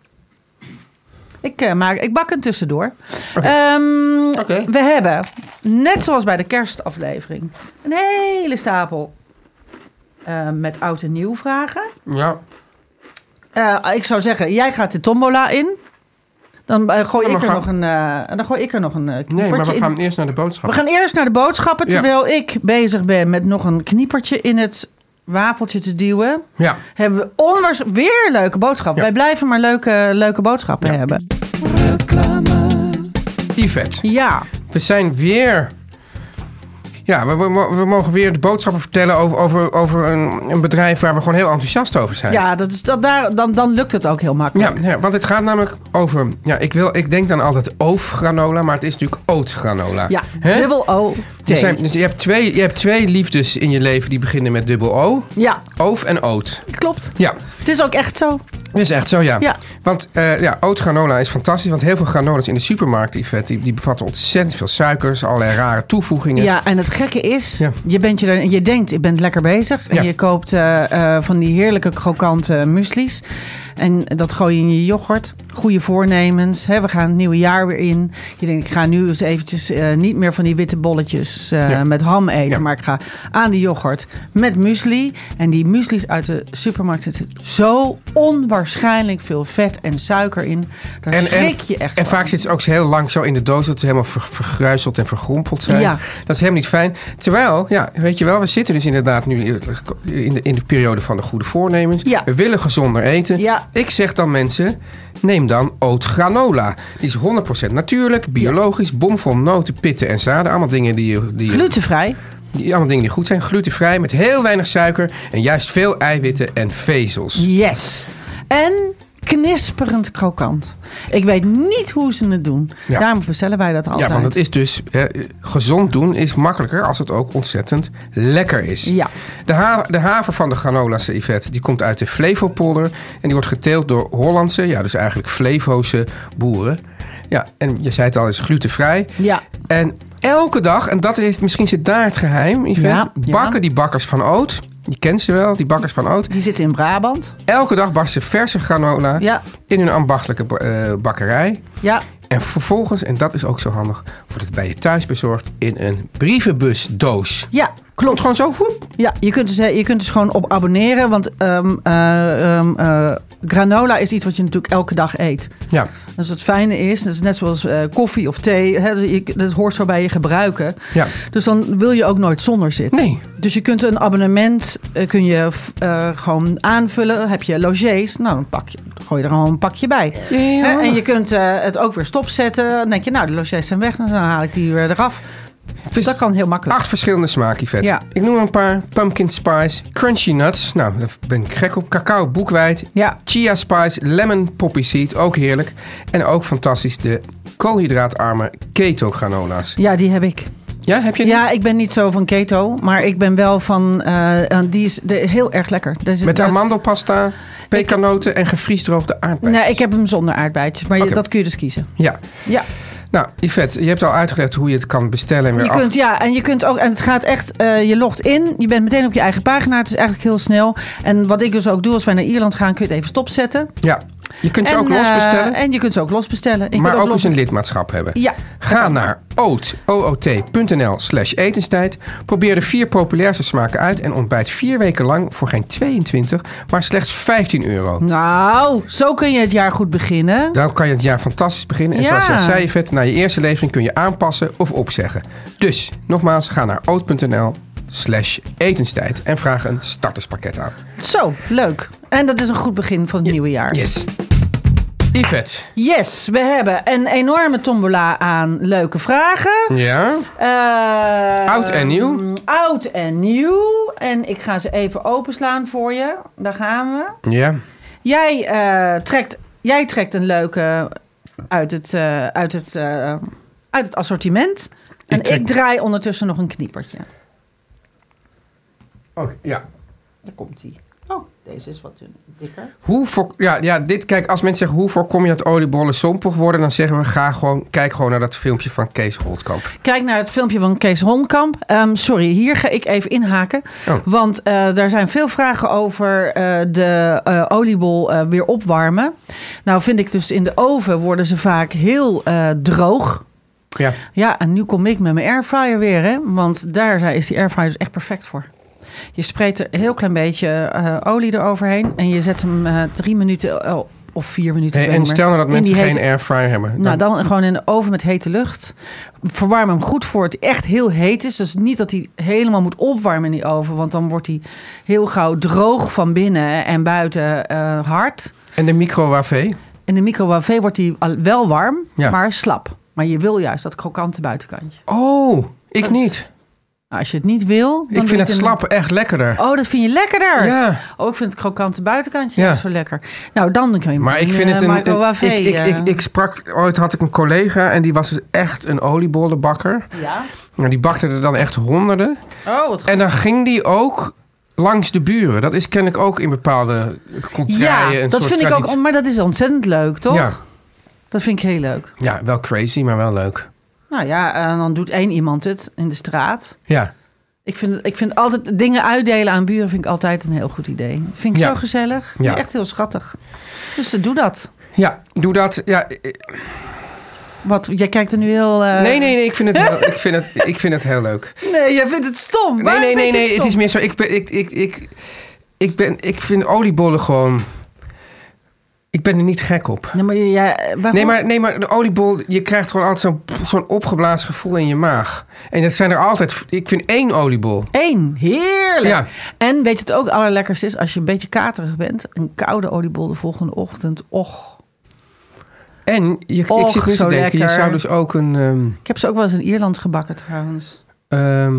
Speaker 3: Ik, eh, maak, ik bak een tussendoor. Ehm,
Speaker 2: Oké.
Speaker 3: We hebben, net zoals bij de kerstaflevering, een hele stapel eh, met oud en nieuw vragen.
Speaker 2: ja.
Speaker 3: Eh, ik zou zeggen, jij gaat de tombola in. Dan, eh, gooi,
Speaker 2: Ja,
Speaker 3: ik
Speaker 2: maar
Speaker 3: er
Speaker 2: ga-
Speaker 3: nog een, eh, dan gooi ik er nog een eh,
Speaker 2: Nee,
Speaker 3: kniepertje
Speaker 2: maar we
Speaker 3: in.
Speaker 2: gaan eerst naar de
Speaker 3: We
Speaker 2: boodschap.
Speaker 3: gaan eerst naar de boodschappen.
Speaker 2: Ja.
Speaker 3: Terwijl ik bezig ben met nog een kniepertje in het wafeltje te duwen.
Speaker 2: Ja.
Speaker 3: Hebben we onwaars weer leuke boodschappen.
Speaker 2: Ja.
Speaker 3: Wij blijven maar leuke, leuke boodschappen
Speaker 2: Ja.
Speaker 3: hebben.
Speaker 2: Yvette,
Speaker 3: Ja,
Speaker 2: we zijn weer... Ja, we, we, we mogen weer de boodschappen vertellen over, over, over een, een bedrijf waar we gewoon heel enthousiast over zijn.
Speaker 3: ja dat is, dat, daar, dan, dan lukt het ook heel makkelijk.
Speaker 2: Ja, ja, want het gaat namelijk over... Ja, ik, wil, ik denk dan altijd oofgranola, maar het is natuurlijk oatsgranola.
Speaker 3: Ja,
Speaker 2: Hè?
Speaker 3: dubbel O. T.
Speaker 2: Er zijn- dus je, hebt twee, je hebt twee liefdes in je leven die beginnen met dubbel O.
Speaker 3: Ja,
Speaker 2: Oof en oot.
Speaker 3: klopt.
Speaker 2: Ja,
Speaker 3: Het is ook echt zo.
Speaker 2: dat is echt zo, ja.
Speaker 3: Ja.
Speaker 2: Want eh ja, oot granola is fantastisch. Want heel veel granolas in de supermarkt, Yvette, die, die bevatten ontzettend veel suikers, allerlei rare toevoegingen.
Speaker 3: Ja, en het gekke is,
Speaker 2: Ja.
Speaker 3: je, bent je, er, je denkt, ik ben lekker bezig. En
Speaker 2: Ja.
Speaker 3: je koopt eh, eh, van die heerlijke krokante muesli's. En dat gooi je in je yoghurt. Goede voornemens. Hè? We gaan het nieuwe jaar weer in. Je denkt, ik ga nu eens eventjes eh, niet meer van die witte bolletjes eh,
Speaker 2: Ja.
Speaker 3: met ham eten.
Speaker 2: Ja.
Speaker 3: Maar ik ga aan de yoghurt met muesli. En die muesli's uit de supermarkt zitten zo onwaarschijnlijk veel vet en suiker in. Daar
Speaker 2: En, en,
Speaker 3: schrik je echt
Speaker 2: en
Speaker 3: van.
Speaker 2: vaak zitten ze ook heel lang zo in de doos dat ze helemaal ver, vergruizeld en vergrompeld zijn.
Speaker 3: Ja.
Speaker 2: Dat is helemaal niet fijn. Terwijl, ja, weet je wel, we zitten dus inderdaad nu in de, in de periode van de goede voornemens.
Speaker 3: Ja.
Speaker 2: We willen gezonder eten.
Speaker 3: Ja.
Speaker 2: Ik zeg dan mensen, neem dan oat granola. Die is 100% natuurlijk, biologisch, bomvol noten, pitten en zaden. Allemaal dingen die, je- die, je-
Speaker 3: Glutenvrij.
Speaker 2: die, allemaal dingen die goed zijn. Glutenvrij, met heel weinig suiker en juist veel eiwitten en vezels.
Speaker 3: Yes. En knisperend krokant. Ik weet niet hoe ze het doen.
Speaker 2: Ja.
Speaker 3: Daarom bestellen wij dat altijd.
Speaker 2: Ja, want het is dus hè, gezond doen is makkelijker als het ook ontzettend lekker is.
Speaker 3: Ja.
Speaker 2: De, ha de haver van de granola's, Yvette, die komt uit de Flevopolder. En die wordt geteeld door Hollandse, ja, dus eigenlijk Flevoose boeren. Ja, en je zei het al, is glutenvrij.
Speaker 3: Ja.
Speaker 2: En elke dag, en dat is, misschien zit daar het geheim, Yvette,
Speaker 3: Ja, ja.
Speaker 2: bakken die bakkers van oud. Je kent ze wel, die bakkers van oud.
Speaker 3: Die zitten in Brabant.
Speaker 2: Elke dag barsten verse granola
Speaker 3: Ja.
Speaker 2: in hun ambachtelijke ba- eh, bakkerij.
Speaker 3: Ja.
Speaker 2: En vervolgens, en dat is ook zo handig, wordt het bij je thuis bezorgd in een brievenbusdoos.
Speaker 3: Ja,
Speaker 2: Klopt
Speaker 3: klopt.
Speaker 2: gewoon zo, hoep.
Speaker 3: Ja, je kunt, dus, hè, je kunt dus gewoon op abonneren. Want ehm, eh, ehm, eh, granola is iets wat je natuurlijk elke dag eet.
Speaker 2: Ja,
Speaker 3: Dus het fijne is, dat is net zoals eh, koffie of thee. Hè, je- dat hoort zo bij je gebruiken.
Speaker 2: Ja.
Speaker 3: Dus dan wil je ook nooit zonder zitten.
Speaker 2: Nee.
Speaker 3: Dus je kunt een abonnement eh, kun je, f- eh, gewoon aanvullen. Heb je logés, nou dan pak je, gooi je er gewoon een pakje bij.
Speaker 2: Ja, ja.
Speaker 3: Hè, En je kunt eh, het ook weer stopzetten. Dan denk je, nou de logés zijn weg, dan haal ik die weer eraf. Dus dat kan heel makkelijk.
Speaker 2: acht verschillende smaken, vet.
Speaker 3: Ja.
Speaker 2: Ik noem er een paar. Pumpkin spice, crunchy nuts. Nou, daar ben ik gek op. Cacao boekweit.
Speaker 3: Ja.
Speaker 2: Chia spice, lemon poppy seed. Ook heerlijk. En ook fantastisch de koolhydraatarme keto granola's.
Speaker 3: Ja, die heb ik.
Speaker 2: Ja, heb je die?
Speaker 3: Ja, ik ben niet zo van keto, maar ik ben wel van. eh, eh, die is de, heel erg lekker. Daar zit-
Speaker 2: Met
Speaker 3: daar is-
Speaker 2: amandelpasta, pekanoten en gevriesdroogde aardbeien.
Speaker 3: Nee, ik heb hem zonder aardbeidjes, maar je-
Speaker 2: Oké.
Speaker 3: dat kun je dus kiezen.
Speaker 2: Ja.
Speaker 3: Ja,
Speaker 2: Nou, Yvette, je hebt al uitgelegd hoe je het kan bestellen en weer
Speaker 3: je
Speaker 2: af...
Speaker 3: kunt, ja en je kunt ook. En het gaat echt. eh, je logt in, je bent meteen op je eigen pagina. Het is eigenlijk heel snel. En wat ik dus ook doe, als wij naar Ierland gaan, kun je het even stopzetten.
Speaker 2: Ja. Je kunt ze
Speaker 3: en,
Speaker 2: ook
Speaker 3: eh,
Speaker 2: losbestellen.
Speaker 3: en je kunt ze ook losbestellen. Ik
Speaker 2: maar
Speaker 3: kan
Speaker 2: ook
Speaker 3: los-
Speaker 2: eens een lidmaatschap hebben.
Speaker 3: Ja.
Speaker 2: Ga naar oot, oot.nl slash etenstijd. Probeer de vier populairste smaken uit en ontbijt vier weken lang voor geen 22, maar slechts 15 euro.
Speaker 3: Nou, zo kun je het jaar goed beginnen.
Speaker 2: Daar kan je het jaar fantastisch beginnen. En
Speaker 3: Ja.
Speaker 2: zoals jij zei, vet, na je eerste levering kun je aanpassen of opzeggen. Dus, nogmaals, ga naar oot.nl slash etenstijd en vraag een starterspakket aan.
Speaker 3: Zo, leuk. En dat is een goed begin van het nieuwe jaar.
Speaker 2: Yes. Yvette.
Speaker 3: Yes, we hebben een enorme tombola aan leuke vragen.
Speaker 2: Ja?
Speaker 3: Eh,
Speaker 2: Oud en nieuw.
Speaker 3: Oud en nieuw. En ik ga ze even openslaan voor je. Daar gaan we.
Speaker 2: Ja.
Speaker 3: Jij, eh, trekt, jij trekt een leuke uit het, eh, uit het, eh, uit het assortiment. En ik,
Speaker 2: trek-
Speaker 3: draai ondertussen nog een kniepertje.
Speaker 2: Oké, ja.
Speaker 3: Daar komt hij. Oh, deze is wat dikker.
Speaker 2: Hoe voor, ja, ja, dit, kijk, als mensen zeggen hoe voorkom je dat oliebollen sompig worden, dan zeggen we ga gewoon, kijk gewoon naar dat filmpje van Kees Holtkamp.
Speaker 3: Kijk naar het filmpje van Kees Holmkamp. Ehm, sorry, hier ga ik even inhaken.
Speaker 2: Oh.
Speaker 3: Want eh daar zijn veel vragen over eh, de eh, oliebol eh, weer opwarmen. Nou vind ik dus in de oven worden ze vaak heel eh, droog.
Speaker 2: Ja.
Speaker 3: Ja, en nu kom ik met mijn airfryer weer. Hè? Want daar zijn- is die airfryer dus echt perfect voor. Je spreekt er een heel klein beetje eh, olie eroverheen. En je zet hem eh, drie minuten eh, of vier minuten.
Speaker 2: Hey,
Speaker 3: ik
Speaker 2: en
Speaker 3: weet niet
Speaker 2: stel
Speaker 3: meer,
Speaker 2: nou dat
Speaker 3: in
Speaker 2: mensen
Speaker 3: die
Speaker 2: geen
Speaker 3: hete-
Speaker 2: airfryer hebben. Dan,
Speaker 3: nou, dan gewoon in de oven met hete lucht. Verwarm hem goed voor het echt heel heet is. Dus niet dat hij helemaal moet opwarmen in die oven. Want dan wordt hij heel gauw droog van binnen en buiten eh, hard.
Speaker 2: en de microwave?
Speaker 3: In de microwave wordt hij al- wel warm,
Speaker 2: Ja.
Speaker 3: maar slap. Maar je wil juist dat krokante buitenkantje.
Speaker 2: Oh, ik
Speaker 3: Dat is-
Speaker 2: niet.
Speaker 3: Nou, als je het niet wil... Dan
Speaker 2: Ik
Speaker 3: doe
Speaker 2: vind het
Speaker 3: een-
Speaker 2: slap echt lekkerder.
Speaker 3: Oh, dat vind je lekkerder?
Speaker 2: Ja.
Speaker 3: Oh, ik vind het krokante buitenkantje
Speaker 2: Ja.
Speaker 3: zo lekker. Nou, dan kan je
Speaker 2: Maar ik vind
Speaker 3: eh,
Speaker 2: het een. een-
Speaker 3: microwave...
Speaker 2: ik, ik,
Speaker 3: eh,
Speaker 2: ik, ik sprak ooit had ik een collega en die was dus echt een oliebollenbakker.
Speaker 3: Ja?
Speaker 2: Nou, die bakte er dan echt honderden.
Speaker 3: Oh, wat goed.
Speaker 2: En dan ging die ook langs de buren. Dat is kennelijk ook in bepaalde contraien.
Speaker 3: Ja,
Speaker 2: een
Speaker 3: dat
Speaker 2: soort
Speaker 3: vind ik ook.
Speaker 2: traditie.
Speaker 3: Maar dat is ontzettend leuk, toch?
Speaker 2: Ja.
Speaker 3: Dat vind ik heel leuk. eh,
Speaker 2: Ja, wel crazy, maar wel leuk.
Speaker 3: Nou ja, en dan doet één iemand het in de straat.
Speaker 2: Ja.
Speaker 3: Ik vind, ik vind altijd dingen uitdelen aan buren vind ik altijd een heel goed idee. Vind ik
Speaker 2: Ja.
Speaker 3: zo gezellig.
Speaker 2: Ja.
Speaker 3: Echt heel schattig. Dus eh, doe dat.
Speaker 2: Ja, doe dat. Ja, eh,
Speaker 3: Wat, jij kijkt er nu heel... eh,
Speaker 2: nee, nee, nee, ik vind het, heel, ik vind het, ik vind het heel leuk.
Speaker 3: Nee, jij vindt het stom.
Speaker 2: Nee,
Speaker 3: <laughs> Waarom
Speaker 2: nee, nee,
Speaker 3: vind je
Speaker 2: nee. Het
Speaker 3: stom?
Speaker 2: is meer zo. Ik, ben, ik, ik, ik, ik, ben, ik vind oliebollen gewoon. Ik ben er niet gek op.
Speaker 3: Nee, maar, jij, eh, waarom?
Speaker 2: Nee maar, nee, maar de oliebol, je krijgt gewoon altijd zo'n zo'n opgeblazen gevoel in je maag. En dat zijn er altijd. Ik vind één oliebol.
Speaker 3: Eén, heerlijk.
Speaker 2: Ja.
Speaker 3: En weet je het ook allerlekkerst is? Als je een beetje katerig bent, een koude oliebol de volgende ochtend. Och,
Speaker 2: En je, ik
Speaker 3: Och,
Speaker 2: zit nu te
Speaker 3: zo
Speaker 2: denken, je
Speaker 3: lekker.
Speaker 2: zou dus ook een. ehm,
Speaker 3: ik heb ze ook wel eens in Ierland gebakken trouwens.
Speaker 2: ehm,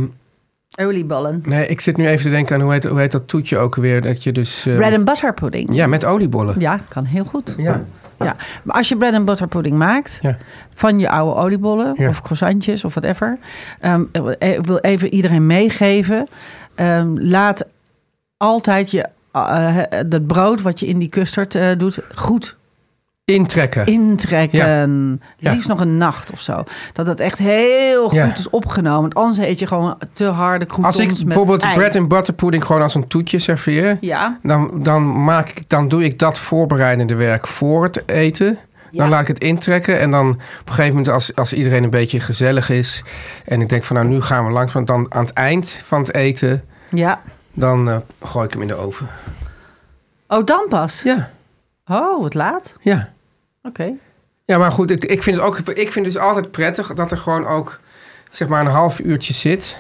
Speaker 3: Olieballen.
Speaker 2: nee, ik zit nu even te denken aan hoe heet, hoe heet dat toetje ook weer? Dat je dus. ehm,
Speaker 3: Bread and butter pudding.
Speaker 2: ja, met oliebollen.
Speaker 3: Ja, kan heel goed.
Speaker 2: Ja.
Speaker 3: Ja. Maar als je bread and butter pudding maakt
Speaker 2: Ja.
Speaker 3: van je oude oliebollen
Speaker 2: Ja.
Speaker 3: of croissantjes of whatever. ehm, ik wil even iedereen meegeven. ehm, laat altijd je, eh, eh, dat brood wat je in die custard eh, doet goed
Speaker 2: Intrekken.
Speaker 3: intrekken.
Speaker 2: Ja.
Speaker 3: Liefst nog een nacht of zo. Dat het echt heel goed
Speaker 2: Ja.
Speaker 3: is opgenomen. Want anders eet je gewoon te harde croutons
Speaker 2: Als ik
Speaker 3: met
Speaker 2: bijvoorbeeld
Speaker 3: ei.
Speaker 2: bread and butter pudding gewoon als een toetje serveer.
Speaker 3: Ja.
Speaker 2: Dan, dan, maak ik, dan doe ik dat voorbereidende werk voor het eten.
Speaker 3: Ja.
Speaker 2: Dan laat ik het intrekken. En dan op een gegeven moment, als, als iedereen een beetje gezellig is. En ik denk van nou, nu gaan we langs. Want dan aan het eind van het eten,
Speaker 3: ja.
Speaker 2: dan eh, gooi ik hem in de oven.
Speaker 3: Oh, dan pas?
Speaker 2: Ja,
Speaker 3: Oh, wat laat.
Speaker 2: ja.
Speaker 3: Oké.
Speaker 2: Ja, maar goed, ik, ik, vind het ook, ik vind het dus altijd prettig dat er gewoon ook zeg maar een half uurtje zit.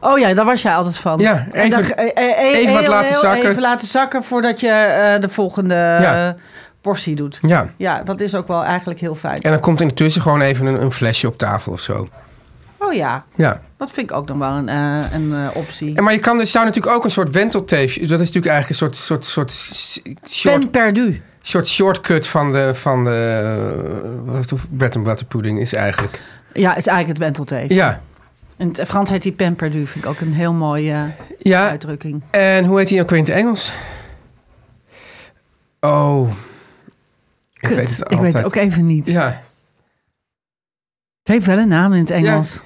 Speaker 3: Oh ja, daar was jij altijd van.
Speaker 2: Ja,
Speaker 3: En
Speaker 2: even-
Speaker 3: dan- eh, eh, eh,
Speaker 2: even wat laten zakken.
Speaker 3: Even laten zakken voordat je eh, de volgende
Speaker 2: Ja.
Speaker 3: eh, portie doet.
Speaker 2: Ja.
Speaker 3: Ja, dat is ook wel eigenlijk heel fijn.
Speaker 2: En dan komt intussen gewoon even een, een flesje op tafel of zo.
Speaker 3: Oh ja,
Speaker 2: Ja.
Speaker 3: dat vind ik ook dan wel een, eh, een eh, optie.
Speaker 2: En maar je kan dus, zou natuurlijk ook een soort wentelteefje. Dat is natuurlijk eigenlijk een soort, soort, soort, s- short,
Speaker 3: Pen perdu.
Speaker 2: soort shortcut van de, van de eh, wat of bread and butter pudding is eigenlijk.
Speaker 3: Ja, is eigenlijk het wentelteken.
Speaker 2: Ja.
Speaker 3: In het Frans heet die pen perdu. Vind ik ook een heel mooie eh,
Speaker 2: ja.
Speaker 3: uitdrukking.
Speaker 2: En hoe heet die ook weer in het Engels? Oh.
Speaker 3: Kut, ik weet het, ook even niet.
Speaker 2: Ja.
Speaker 3: Het heeft wel een naam in het Engels.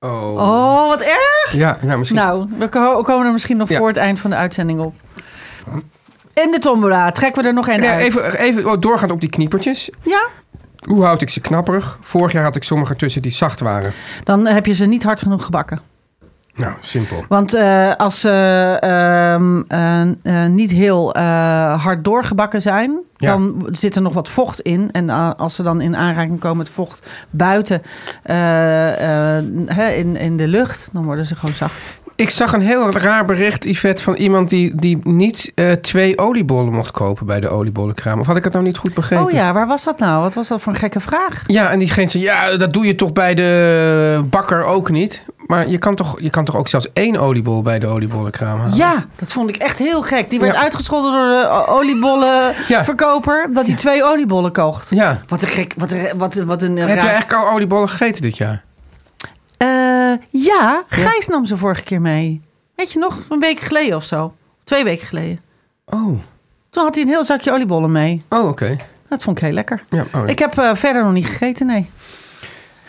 Speaker 2: Oh.
Speaker 3: Oh, wat erg!
Speaker 2: Ja, nou misschien.
Speaker 3: Nou, we ko- komen er misschien nog
Speaker 2: Ja.
Speaker 3: voor het eind van de uitzending op. En de tombola. Trekken we er nog één
Speaker 2: Ja,
Speaker 3: uit?
Speaker 2: even even oh, doorgaand op die kniepertjes.
Speaker 3: Ja?
Speaker 2: Hoe houd ik ze knapperig? Vorig jaar had ik sommige tussen die zacht waren.
Speaker 3: Dan heb je ze niet hard genoeg gebakken.
Speaker 2: Nou, simpel.
Speaker 3: Want eh, als ze ehm, eh, eh, niet heel eh, hard doorgebakken zijn,
Speaker 2: Ja.
Speaker 3: dan zit er nog wat vocht in. En eh, als ze dan in aanraking komen met vocht buiten eh, eh, hè, in, in de lucht, dan worden ze gewoon zacht.
Speaker 2: Ik zag een heel raar bericht, Yvette, van iemand die, die niet eh, twee oliebollen mocht kopen bij de oliebollenkraam. Of had ik het nou niet goed begrepen?
Speaker 3: Oh ja, waar was dat nou? Wat was dat voor een gekke vraag?
Speaker 2: Ja, en diegene zei, ja, dat doe je toch bij de bakker ook niet? Maar je kan toch, je kan toch ook zelfs één oliebol bij de oliebollenkraam halen?
Speaker 3: Ja, dat vond ik echt heel gek. Die werd
Speaker 2: Ja.
Speaker 3: uitgescholden door de o- oliebollenverkoper.
Speaker 2: Ja.
Speaker 3: verkoper Dat hij twee oliebollen kocht.
Speaker 2: Ja.
Speaker 3: Wat een gek, wat een, wat een, wat een
Speaker 2: Heb je
Speaker 3: raar-
Speaker 2: eigenlijk al oliebollen gegeten dit jaar?
Speaker 3: Eh, ja, Gijs nam ze vorige keer mee. Weet je nog, een week geleden of zo. Twee weken geleden.
Speaker 2: Oh,
Speaker 3: Toen had hij een heel zakje oliebollen mee.
Speaker 2: oh oké.
Speaker 3: Dat vond ik heel lekker.
Speaker 2: Ja, oh, nee.
Speaker 3: Ik heb eh, verder nog niet gegeten, nee.